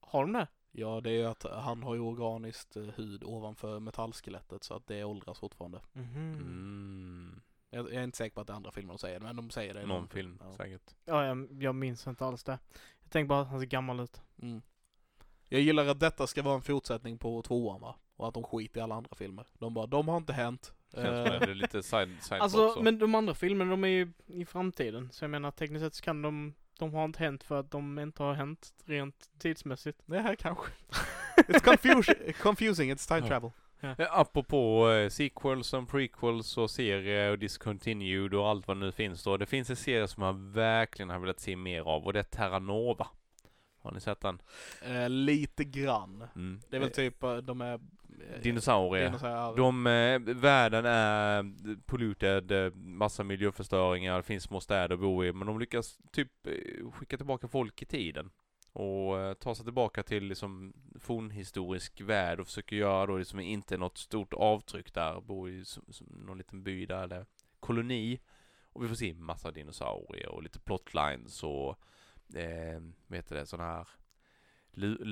Har de det? Ja, det är ju att han har ju organiskt eh, hud ovanför metallskelettet så att det åldras fortfarande. Mm, Jag, jag är inte säker på att det är andra filmer de säger det, men de säger det. i någon film Ja. säkert. Ja, jag, jag minns inte alls det. Jag tänker bara att han ser gammal ut. Mm. Jag gillar att detta ska vara en fortsättning på tvåan va? Och att de skiter i alla andra filmer. De bara, de har inte hänt. Känns som Eh, det är lite side, side Alltså, men de andra filmerna de är ju i framtiden. Så jag menar tekniskt sett så kan de, de har inte hänt för att de inte har hänt rent tidsmässigt. det här kanske. It's confusing, confusing it's time Ja. travel. Eh, Apropå eh, sequels och prequels och serier och discontinued och allt vad nu finns då. Det finns en serie som jag verkligen har velat se mer av och det är Terra Nova. Har ni sett den? Eh, lite grann. Mm. Det är väl typ, eh, de är... Eh, eh, Dinosaurier. dinosaurier. De, eh, världen är eh, polluted, eh, massa miljöförstöringar, det finns små städer att bo i, men de lyckas typ eh, skicka tillbaka folk i tiden. Och eh, ta sig tillbaka till liksom fornhistorisk värld och försöker göra då liksom inte något stort avtryck där, bor i som, som någon liten by där, eller koloni. Och vi får se massa dinosaurier och lite plotlines och, eh, vad heter det, sådana här lu-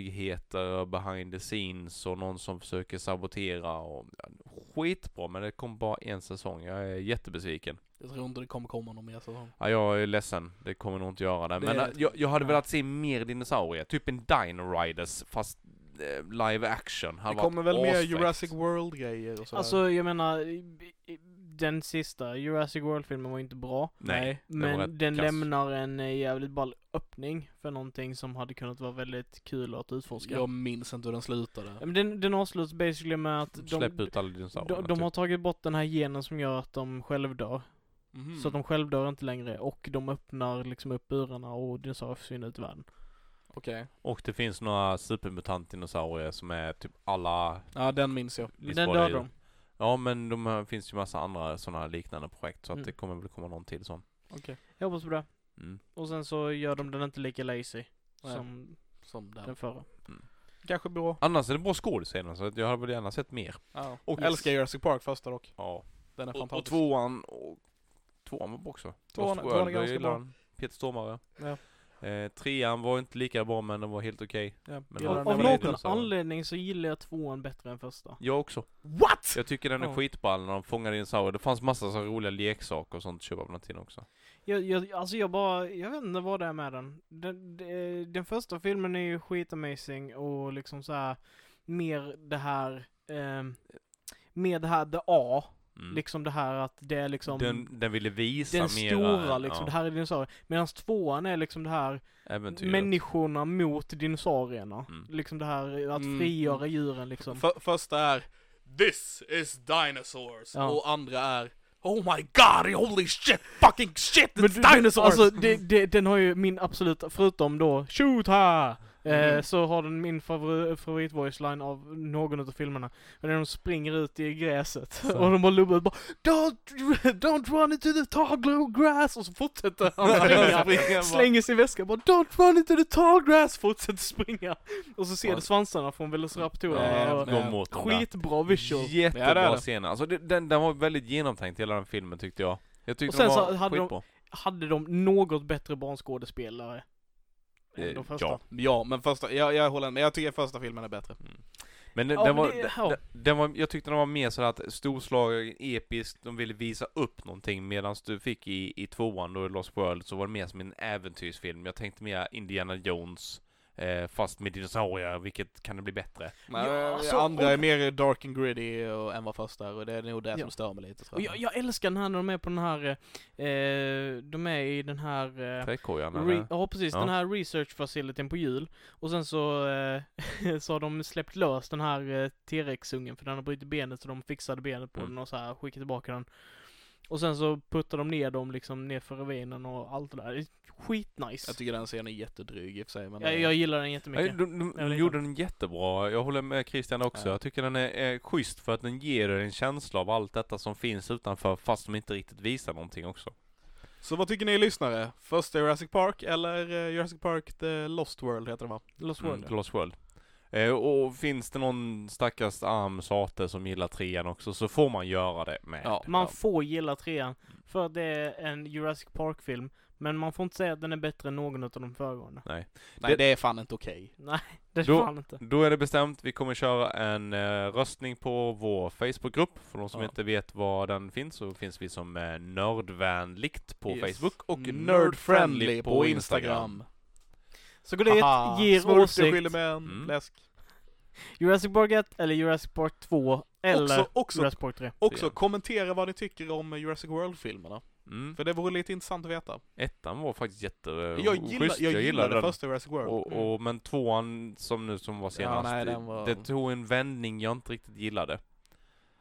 lurigheter behind the scenes och någon som försöker sabotera och ja, skitbra men det kom bara en säsong. Jag är jättebesviken. Jag tror inte det kommer komma någon mer säsong. Ja, jag är ledsen. Det kommer nog inte göra det. Det- Men äh, jag, jag hade ja. velat se mer dinosaurier. Typ en Dino Riders fast eh, live action. Hade Det varit kommer väl mer asfräckt. Jurassic World-grejer och sådär. Alltså jag menar, i- i- den sista Jurassic World-filmen var ju inte bra. Nej. den var Men rätt den kass. lämnar en eh, jävligt ball öppning för någonting som hade kunnat vara väldigt kul att utforska. Jag minns inte hur den Ja, slutade. men Den, den avslutas basically med att de, Släpp de, ut alla dinosaurier. typ. de, har tagit bort den här genen som gör att de självdör. Mhm. Så att de självdör inte längre och de öppnar liksom upp burarna och dinosaurier försvinner ut i världen. Okej. Och det finns några supermutantdinosaurier som är typ alla Ja, den minns jag. Visst den var det dör ju- de. Ja men de här, finns ju massa andra sådana liknande projekt så att Mm. det kommer väl komma någon till sån. Jag hoppas på det. Mm. Och sen så gör de den inte lika lazy Nej. som Som den. den förra. Kanske bra. Annars är det bra skådisar så att jag hade väl gärna sett mer. Ja. Och- Och älskar Jurassic Park första dock. Ja. Den är Och, och fantastisk. tvåan och... Tvåan var bra också. Tvåan- Lost tvåan är World, jag ganska gillar bra. den. Peter Stormare. Ja. Eh, trean var inte lika bra men den var helt okej. Ja. Men Ja, av- den Av är någon bra. någon dinosaurier. anledning så gillar jag tvåan bättre än första. Jag också. What? Jag tycker den är Ja. skitball när de fångar dinosaurier. Det fanns massa så här roliga leksaker och sånt att köpa på den tiden också. Jag, jag, alltså jag bara, jag vet inte vad det är med den. Den, de- den första filmen är ju skitamazing och liksom så här mer det här, ehm, mer det här the A, Mm. liksom det här att det är liksom den, den ville visa den mera, stora liksom, det ja, här är dinosaurier. Medan tvåan är liksom det här äventyret. människorna mot dinosaurierna. Mm. Liksom det här att Mm. frigöra djuren liksom. För, första är This is dinosaurs. Ja. Och andra är Oh my god, holy shit, fucking shit, Men it's dinosaurs! Alltså, det, det, den har ju min absoluta, förutom då, shoot här! Eh, Mm. så har den min favori, favorit voiceline av någon av filmerna. Men när de springer ut i gräset och de bara lubbar bara don't, don't run into the tall glow grass! Och så fortsätter han springa. Springa bara. Slänger sin väska bara Don't run into the tall grass! Fortsätter springa. Och så ser du svansarna från Velociraptorerna. Ja, och men- Gå mot den där. Skitbra visual. Ja, det är Jättebra det. scen. Alltså det, den, den var väldigt genomtänkt hela den filmen tyckte jag. Jag tyckte Och sen den var så hade de- skitbra. Hade de något bättre barnskådespelare? Eh, Än de första? ja. Ja, men första, jag, jag håller med. Jag tycker första filmen är bättre. Men den, Ja, den, men var, det- ja. den, den var, jag tyckte den var mer sådär att storslagen, episk, de ville visa upp någonting medan du fick i, i tvåan då i Lost World så var det mer som en äventyrsfilm. Jag tänkte mer Indiana Jones eh, fast med dinosaurier, vilket kan det bli bättre? Men, Ja, eh, alltså, andra om- är mer dark and gritty och, än vad första är och det är nog det Ja. som stör mig lite Och tror jag, jag älskar den här när de är på den här, eh, eh, de är i den här eh, Trädkojan Re- eller? ja precis, Ja. den här research facilityn på jul. Och sen så, eh, så har de släppt lös den här eh, T-Rex-ungen för den har brutit benet så de fixade benet på Mm. den och så här skickade tillbaka den. Och sen så puttar de ner dem liksom ner för ravinen och allt det där. Det är Skitnice! Jag tycker den scenen är jättedryg i och för sig men... Jag, jag gillar den jättemycket. Nej, de, de, Jag de vet gjorde den jättebra. Jag håller med Christian också. Ja. Jag tycker den är, är schysst för att den ger dig en känsla av allt detta som finns utanför fast de inte riktigt visar någonting också. Så vad tycker ni lyssnare? Första Jurassic Park eller eh, Jurassic Park The Lost World heter det va? Lost Mm, World. till Lost World. Eh, och finns det någon stackars arm sate som gillar trean också så får man göra det med. Ja. Man får gilla trean, för det är en Jurassic Park-film. Men man får inte säga att den är bättre än någon av de föregående. Nej Det- det, är fan inte okej. Det är Då- fan inte. Då är det bestämt. Vi kommer köra en eh, röstning på vår Facebookgrupp. För de som Ja. inte vet var den finns så finns vi som eh, Nördvänligt på Yes. Mm. Facebook och Nerdfriendly på Instagram. Så gå dit, ge er åsikt. Mm. mm. läsk. Jurassic Park 1 eller Jurassic Park 2 eller Också, också, Jurassic Park 3. också kommentera vad ni tycker om Jurassic World-filmerna. Mm. För det vore lite intressant att veta. Ettan var faktiskt jätte... Jag, gillar, jag, gillade den. första Jurassic World. Och, och, men tvåan som nu som var senast, nej, det- den var- det tog en vändning jag inte riktigt gillade.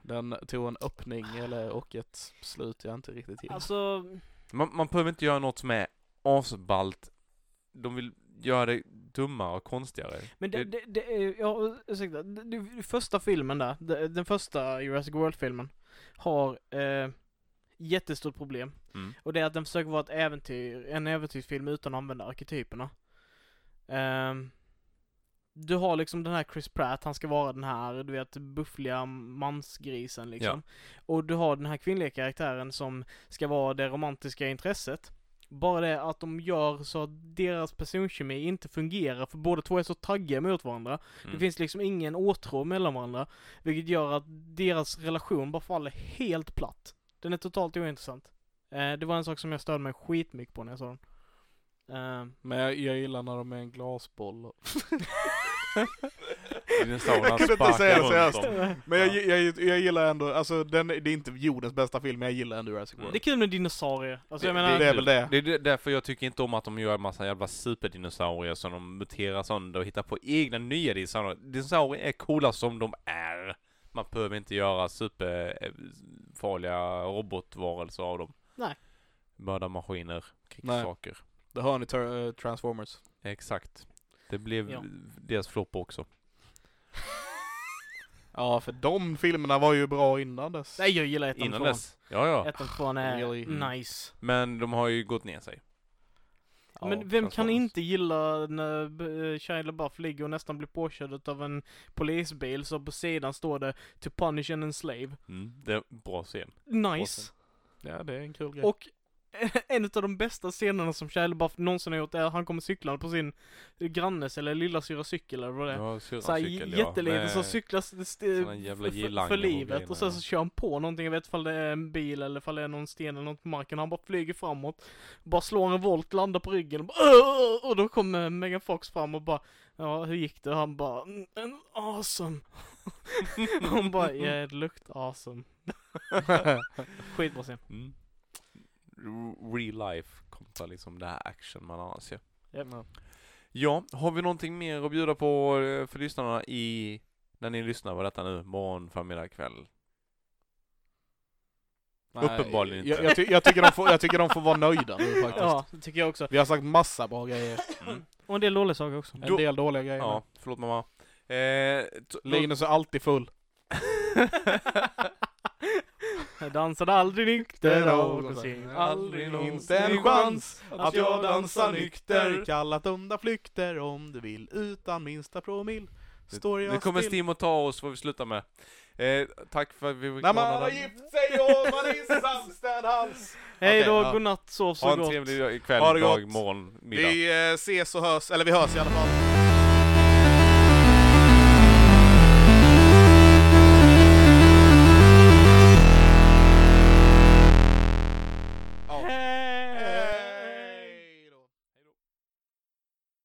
Den tog en öppning eller, och ett slut jag inte riktigt gillar. Alltså, Man, man behöver inte göra något som är asballt. De vill göra det dummare och konstigare. men det, det, det är- ja, ursäkta. Den- Den första filmen där, den- den första Jurassic World-filmen, har eh, jättestort problem. Mm. Och det är att den försöker vara ett äventyr, en äventyrsfilm utan att använda arketyperna. Ehm, du har liksom den här Chris Pratt, han ska vara den här, du vet, buffliga mansgrisen liksom. Och du har den här kvinnliga karaktären som ska vara det romantiska intresset. Bara det att de gör så att deras personkemi inte fungerar för båda två är så taggiga mot varandra. Det Mm. finns liksom ingen åtrå mellan varandra. Vilket gör att deras relation bara faller helt platt. Den är totalt ointressant. Eh, det var en sak som jag störde mig skitmycket på när jag såg den. Eh, Men jag, jag gillar när de är en glasboll. och- Dinosaurierna Jag kunde inte sparkar säga det runt seriöst. dem. Men jag, jag, jag gillar ändå, alltså den, det är inte jordens bästa film, men jag gillar ändå Jurassic World. Mm. det är kul med dinosaurier. Alltså jag Det- menar, det är väl det. Det är det- därför jag tycker inte om att de gör en massa jävla superdinosaurier som de muterar sönder och hittar på egna nya dinosaurier. Dinosaurier är coola som de är. Man behöver inte göra superfarliga robotvarelser av dem. Nej. Mördarmaskiner, krigssaker. Det hör ni, Tar- eh, Transformers. Exakt. Det blev Ja. deras flopp också. Ja, för de filmerna var ju bra innan dess. nej jag gillar ettan Innan och dess. Ja, ja. Ettan och tvåan är Really? nice. Men de har ju gått ner sig. Ja, Men vem kan Transformers. inte gilla när eh, Shia LaBeouf ligger och nästan blir påkörd av en polisbil så på sidan står det To punish and enslave. Mm, det är en bra scen. Nice. Ja, det är en kul grej. Och en av de bästa scenerna som Shia LaBeouf någonsin har gjort är att han kommer cyklande på sin grannes eller lillasyrras cykel eller vad det är. Ja, syrran Såhär cykel, ja. jätteliten Med- så cyklas det st- såna jävla f- f- girlanger för och livet grejerna, och sen ja. så kör han på någonting, jag vet ifall det är en bil eller ifall det är någon sten eller något på marken. Han bara flyger framåt, bara slår en volt, landar på ryggen och, bara, "Åh!" och då kommer Megan Fox fram och bara Ja, hur gick det? Och han bara "Mm, en awesome. Hon bara yeah, it looked awesome. Skitbra scen. Mm. R- Real life kontra liksom det här action man annars gör. Ja. Ja, har vi någonting mer att bjuda på eh, för lyssnarna i när ni lyssnar på detta nu? Morgon, förmiddag, kväll? Nej, Uppenbarligen jag, inte. jag, ty- jag, tycker de får, jag tycker de får vara nöjda nu faktiskt. Ja, det tycker jag också. Vi har sagt massa bra grejer. Och en del dåliga saker också. En Då- del dåliga grejer. Ja, förlåt mamma. Eh, t- Linus är alltid full. Jag dansade aldrig nykter någonsin. Aldrig någonsin. Inte en chans att jag dansar nykter. Nu- Kallat onda flykter om du vill utan minsta promill. Står jag Nu kommer still. Stim och ta oss, får vi sluta med. Eh, tack för att vi fick När man låna har den. gift sig och man är samstämd hals. Hej då, Okej, ja. godnatt, sov så Ha en gott. trevlig kväll, Ha det dag, gott. morgon, middag. Vi eh, ses och hörs, eller vi hörs i alla fall.